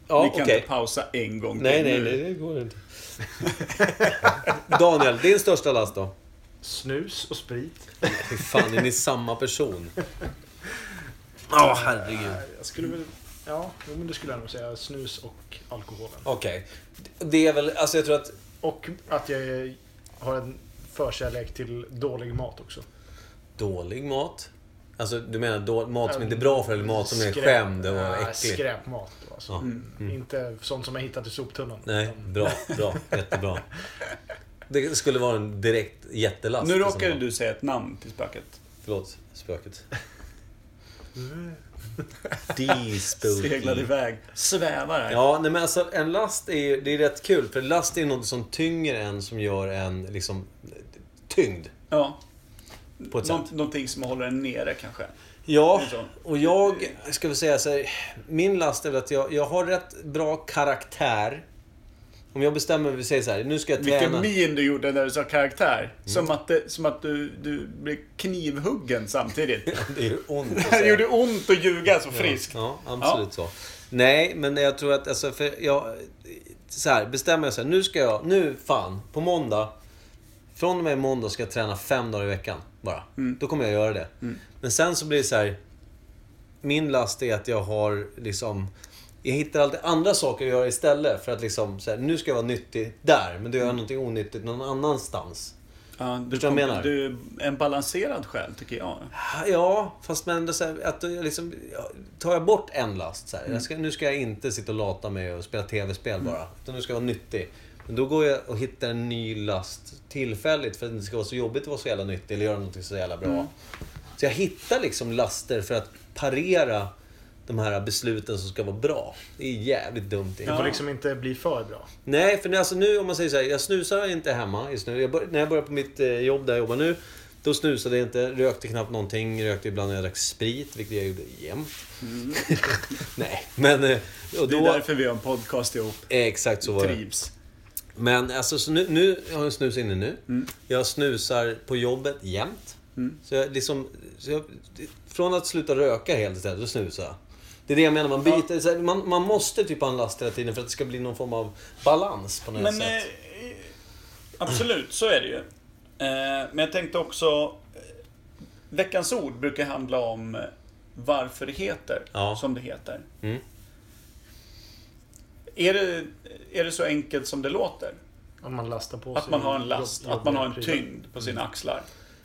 vi
okej.
kan inte pausa en gång till
Nej, nej,
nu.
nej, det går inte. Daniel, din största last då?
jag. Snus och sprit.
Hur fan, är ni samma person? Ja, herregud.
Jag skulle väl... Ja, jo, men det skulle jag nog säga. Snus och alkoholen.
Okej. Det är väl, alltså jag tror att...
Och att jag har en förkärlek till dålig mat också.
Dålig mat? Alltså du menar då, mat som inte är bra för eller mat som är
Skräp-
skämd
Ja,
och äcklig?
Skräpmat. då, Alltså.
Ja. Mm.
Inte sånt som jag hittat i soptunnan.
Nej,
utan-
bra, bra, jättebra. Det skulle vara en direkt jättelast.
Nu
i så
råkade
fall.
du säga ett namn till spöket.
Förlåt, spöket. De
Seglade
spooky.
iväg. Svävar här.
Ja, nej men alltså en last är ju, det är rätt kul för last är något som tynger en som gör en liksom tyngd
Ja.
på ett
Nå-
sätt.
någonting som håller en nere kanske.
Ja,
Liksom.
och jag ska väl säga så här, Min last är väl att jag, jag har rätt bra karaktär. Om jag bestämmer mig, vi säger så här, nu ska jag
Vilken
träna.
min du gjorde när du sa karaktär.
Mm.
Som att, det, som att du, du blev knivhuggen samtidigt.
Det gör ont att
Det
säga.
gjorde ont att ljuga så friskt.
Ja, absolut så. Nej, men jag tror att, alltså, för jag... Så här, bestämmer jag så här, nu ska jag, nu fan, på måndag. Från och med måndag ska jag träna fem dagar i veckan bara. Då kommer jag göra det. Men sen så blir det så här... Min last är att jag har liksom... Jag hittar alltid andra saker att göra istället. För att liksom, så här, nu ska jag vara nyttig där. Men då gör jag någonting onyttigt någon annanstans.
Ja, du,
Förstår vad jag menar?
du är en balanserad själ, tycker jag.
Ja, fast men ändå så här, att jag liksom, ja, tar jag bort en last så här, jag ska, Nu ska jag inte sitta och lata mig och spela tv-spel bara. Utan nu ska jag vara nyttig. Men då går jag och hittar en ny last tillfälligt för att det inte ska vara så jobbigt att vara så jävla nyttig eller göra någonting så jävla bra. Så jag hittar liksom laster för att parera de här besluten som ska vara bra. Det är jävligt dumt.
Det
Ja.
får liksom inte bli för bra.
Nej, för nu, alltså nu om man säger så här, jag snusar inte hemma just nu. Jag bör, när jag började på mitt eh, jobb där jag jobbar nu, då snusade jag inte, rökte knappt någonting, rökte ibland när jag drack sprit, vilket jag gjorde jämt. Nej, men... eh, Och
Mm. Det
då,
är därför vi har en podcast ihop.
Eh, Exakt så var det.
Trivs.
Men alltså, så nu, nu jag har jag snus inne nu.
Mm.
Jag snusar på jobbet jämt. Så jag liksom... Så jag, från att sluta röka helt istället, då snusar jag. Det är det jag menar, man, byter, så här, man, man måste typ ha en last hela tiden för att det ska bli någon form av balans på något
Men
sätt.
eh, absolut, så är det ju. Eh, men jag tänkte också... Eh, veckans ord brukar handla om eh, varför det heter
Ja.
som det heter.
Mm.
Är, det, eh, är det så enkelt som det låter?
Om man lastar på
Att
sig
man har en last,
jobbiga
att man har en
prylar.
tyngd på sina axlar.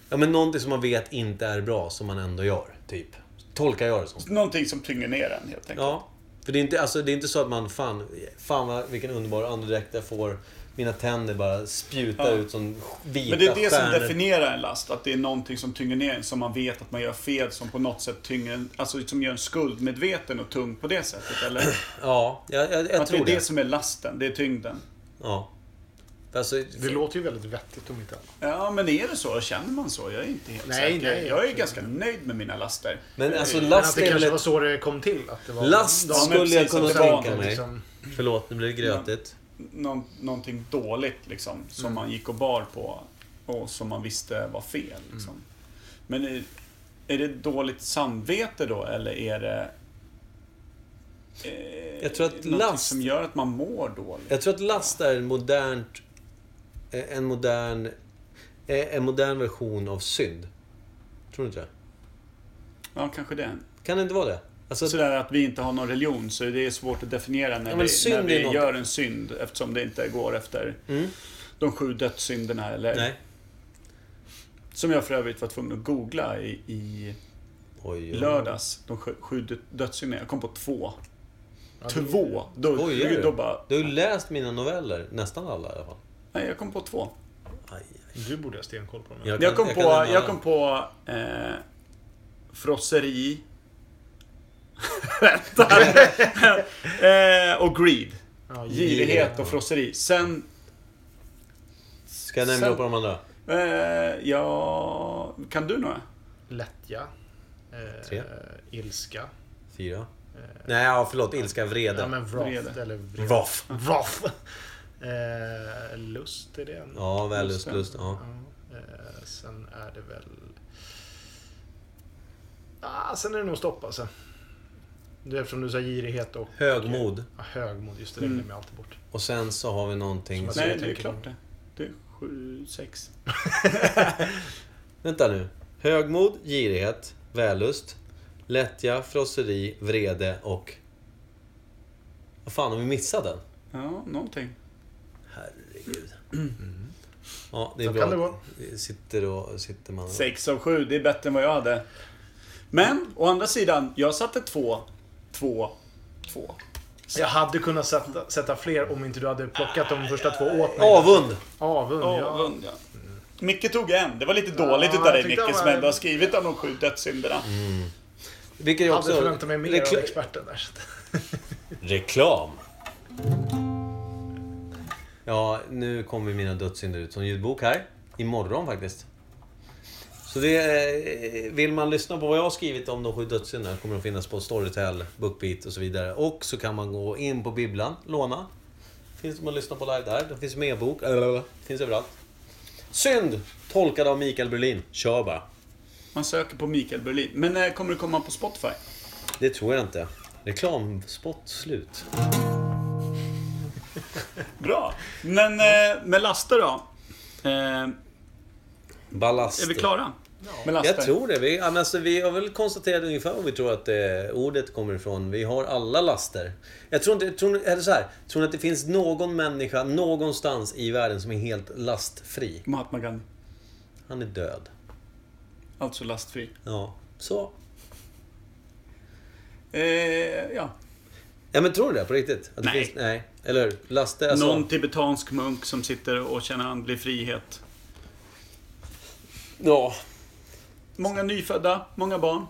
Ja, men någonting som man vet inte är bra som man ändå gör, typ. Tolkar jag det som.
Någonting som tynger ner en helt enkelt.
Ja. För det är inte, alltså, det är inte så att man, fan, fan vad, vilken underbar andedräkt jag får. Mina tänder bara spjutar
Ja.
ut som vita
Men det är det som
stjärnor.
definierar en last, att det är någonting som tynger ner en som man vet att man gör fel som på något sätt tynger en, alltså som gör en skuldmedveten och tung på det sättet, eller?
Ja, jag, jag, jag
att det är
tror
det.
det.
som är lasten, det är tyngden.
Ja. Alltså,
Det låter ju väldigt vettigt om inte annat.
Ja, men är det så? Känner man så? Jag är inte helt
Nej,
säker.
nej,
jag är
absolut.
ganska nöjd med mina laster. Eh,
men alltså
Men att
last
det
är väl
kanske var
ett...
så det kom till. Att det var
Last
Ja,
men
skulle jag
precis,
kunna
att det var
tänka
men
mig.
liksom-
Förlåt, nu blev det grötigt.
Någon, någonting dåligt liksom, som
Mm.
man gick och bar på och som man visste var fel.
Mm.
Liksom. Men är, är det dåligt samvete då, eller är det... Eh,
Jag tror att
någonting
last-
som gör att man mår dåligt.
Jag tror att last är en modern, en modern, eh, en modern version av synd. Tror du inte det?
Ja, kanske det.
Kan det inte vara det? Alltså,
Sådär att vi inte har någon religion, så det är svårt att definiera när
Ja, men
vi,
synd
när vi
är något-
gör en synd, eftersom det inte går efter
Mm.
de sju dödssynderna. Eller,
nej.
Som jag för övrigt var tvungen att googla i, i
Oj, oj.
lördags. De sju, sju dö- dödssynderna. Jag kom på två.
Ja, det-
Två! Då,
Skojar
då,
du?
då bara...
Du har ju läst mina noveller, nästan alla i alla fall.
Nej, jag kom på två.
Aj,
Du borde ha stenkoll på dem.
Jag
Jag
kan-
kom
jag
på,
kan nämna
jag kom på eh, frosseri, Vänta. eh, och greed.
Ja,
Girighet
ja.
och frosseri. Sen...
Ska jag nämna
Sen-
på de andra?
Eh, ja... Kan du några?
Lättja. Eh,
Tre.
Ilska.
Fyra? Nej, ja, förlåt. Ilska, vrede.
Ja, men wrath,
Vrede.
eller vrede.
Vaff.
Wrath. Eh, lust är det en.
Ja,
Just
vällust,
det.
lust. Ja.
Ja, eh, sen är det väl... Ah, sen är det nog stopp alltså. Det är eftersom du sa girighet och
Högmod.
ja, högmod. Just det, det
Mm.
glömmer jag alltid bort.
Och sen så har vi någonting...
Som att-
Nej,
Alltså, jag
det är
tänker
klart
på-
det. Det är sju, sex.
Vänta nu. Högmod, girighet, vällust, lättja, frosseri, vrede och... Vad fan, har vi missat den?
Ja, någonting.
Herregud. Mm. Ja, det är
Så
bra.
kan det gå.
Vi Sitter, och, sitter man...
Sex av sju, det är bättre än vad jag hade. Men, å andra sidan, jag satte två, två, två.
Jag hade kunnat sätta, sätta fler om inte du hade plockat de första två åt mig.
Avund!
Avund,
Ja,
ja.
vund, ja. Micke tog en. Det var lite dåligt utav
Mm. jag
dig
tyckte
Micke,
han
som
var- Mm.
ändå har skrivit om de sju dödssynderna.
Vilket
Jag
är
hade
också...
förväntat mig mer
Rekla-
av experten där. så att-
Reklam! Ja, nu kommer mina dödssynder ut som ljudbok här. Imorgon faktiskt. Så det... eh, Vill man lyssna på vad jag har skrivit om de sju dödssynderna kommer de finnas på Storytel, Bookbeat och så vidare. Och så kan man gå in på bibblan, låna. Finns man lyssna på live där. Det finns med bok. Blablabla. Finns överallt. Synd! Tolkad av Mikael Berlin. Kör bara.
Man söker på Mikael Berlin. Men eh, kommer det komma på Spotify?
Det tror jag inte. Reklamspot slut.
Bra. Men eh, med laster då? Eh,
Ballast.
är vi klara? Med laster?
Jag tror det. Vi, ja, men alltså, vi har väl konstaterat ungefär var vi tror att eh, ordet kommer ifrån. Vi har alla laster. Jag tror inte... jag Tror, eller så här, tror ni att det finns någon människa någonstans i världen som är helt lastfri?
Mahatma Gandhi.
Han är död.
Alltså lastfri.
Ja, så.
Eh, ja.
Ja, men tror ni det på riktigt? Att det
Nej.
Finns, nej. Eller hur? Laster, alltså...
Någon tibetansk munk som sitter och känner andlig frihet.
Ja.
Många nyfödda, många barn.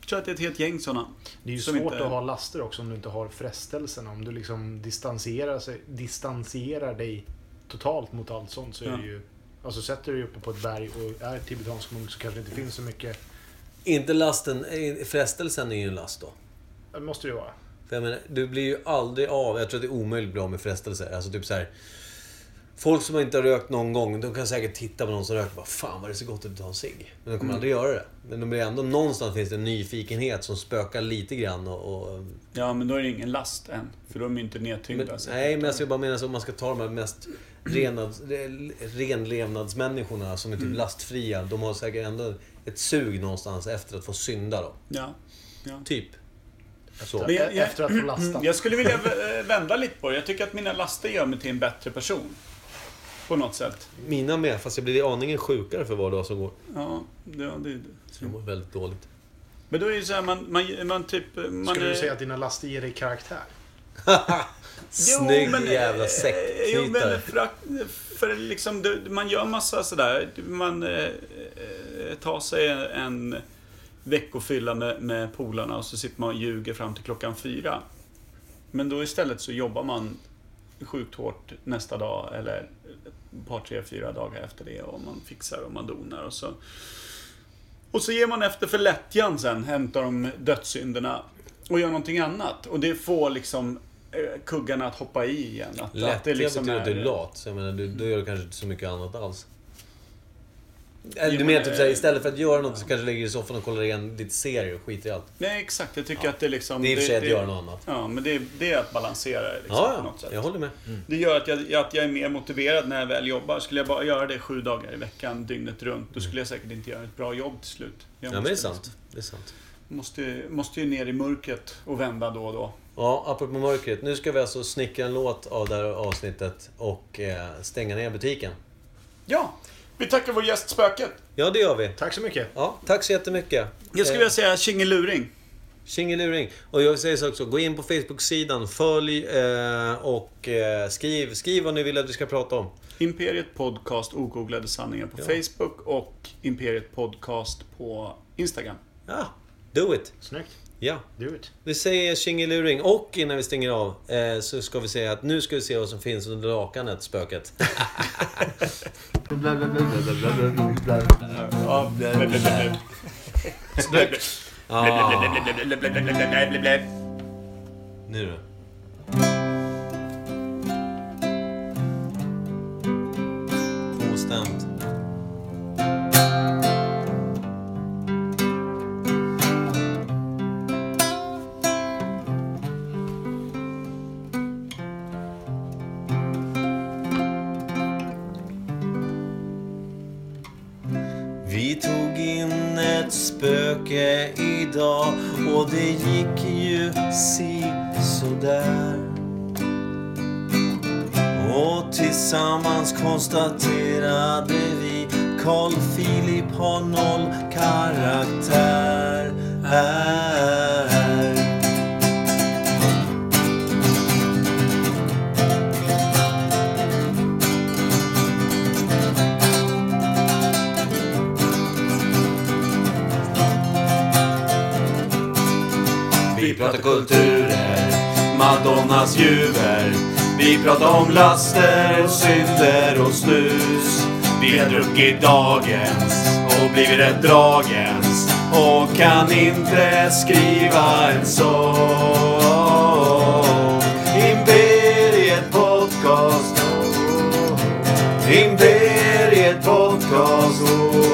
Jag tror att det är ett helt gäng sådana.
Det är ju
Som
svårt
inte-
att ha laster också om du inte har frestelserna. Om du liksom distanserar, sig, distanserar dig totalt mot allt sånt så är
Ja.
det ju... Alltså sätter du dig uppe på ett berg och är tibetansk munk så kanske det inte finns så mycket.
Inte lasten... eh, Frestelsen är ju en last då.
Det måste det ju vara.
För jag menar, du blir ju aldrig av. Jag tror att det är omöjligt att bli av med frestelser. Alltså typ så här. Folk som inte har rökt någon gång, de kan säkert titta på någon som röker och bara Fan vad det ser gott ut att ta en cigg. Men de
Mm.
kommer aldrig göra det. Men de blir ändå, någonstans finns det en nyfikenhet som spökar lite grann och... och
Ja, men då är det ingen last än. För då är de ju inte nedtyngda.
men,
så.
nej, men alltså, jag bara menar så om man ska ta de här mest renlevnads, renlevnadsmänniskorna som är typ
Mm.
lastfria. De har säkert ändå ett sug någonstans efter att få synda då.
Ja. ja.
Typ. Så.
Men jag- jag-
Efter att få lastat.
Jag skulle vilja eh, vända lite på det. Jag tycker att mina laster gör mig till en bättre person. På något sätt.
Mina med, fast jag blir aningen sjukare för var dag som går.
Ja, det, ja, det,
Så jag mår väldigt dåligt.
Men då är det så här, man, man, man typ... Man
Skulle
är,
du säga att dina laster ger dig karaktär?
Snygg
men, eh,
jävla
Jo,
sektknytare.
men för, för liksom, du- man gör massa sådär. Man eh, eh, tar sig en veckofylla med, med polarna och så sitter man och ljuger fram till klockan fyra. Men då istället så jobbar man sjukt hårt nästa dag eller ett par, tre, fyra dagar efter det och man fixar och man donar och så. Och så ger man efter för lättjan sen, hämtar de dödssynderna och gör någonting annat. Och det får liksom eh, kuggarna att hoppa i igen. Att,
Lätt,
att det liksom
betyder att du är lat. Så jag menar, du, då gör du kanske inte så mycket annat alls. Eller du menar typ
eh,
såhär, istället för att göra något så kanske du ligger i soffan och kollar igen ditt serie och skiter i allt.
Nej, exakt. Jag tycker att det liksom...
Det är i och för sig att göra något annat.
Ja, men det, det är att balansera det liksom, på
Ja,
något
ja,
sätt.
jag håller med.
Det gör att jag, att jag är mer motiverad när jag väl jobbar. Skulle jag bara göra det sju dagar i veckan, dygnet runt, då skulle jag säkert inte göra ett bra jobb till slut. Jag
Mm. Ja, men det är
måste
sant. Det är sant.
Måste, måste ju ner i mörkret och vända då och då.
Ja, apropå mörkret. Nu ska vi alltså snickra en låt av det här avsnittet och eh, stänga ner butiken.
Ja, vi tackar vår gäst Spöket.
Ja, det gör vi.
Tack så mycket.
Ja, tack så jättemycket.
Jag skulle
Eh,
vilja säga tjingeluring.
Tjingeluring. Och jag säger så också, gå in på Facebook-sidan, följ eh, och eh, skriv, skriv vad ni vill att vi ska prata om.
Imperiet Podcast ogooglade sanningar på Facebook och Imperiet Podcast på Instagram.
Ja, do it!
Snyggt.
Ja,
Do it.
vi säger tjingeluring. Och innan vi stänger av eh, så ska vi säga att nu ska vi se vad som finns under lakanet, spöket. Ah, nu då. Tvåstämt. Vi tog in ett spöke idag och det gick ju si sådär. Och tillsammans konstaterade vi Carl Philip har noll karaktär. Är. Vi pratar kulturer, Madonnas juver. Vi pratar om laster och synder och snus. Vi har druckit dagens och blivit rätt dragens. Och kan inte skriva en sång. Imperiet Podcast. Imperiet Podcast.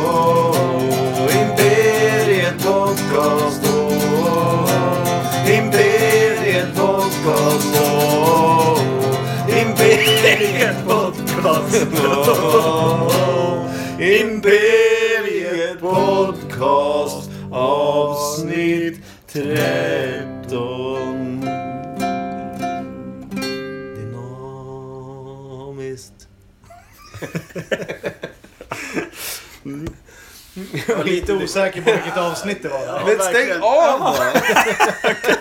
oh, Imperiet Podcast. oh, Imperiet Podcast. oh, Imperiet Podcast. oh, Imperiet Podcast avsnitt 13. Dynamiskt.
Jag var lite osäker på vilket avsnitt det var.
Men stäng av då!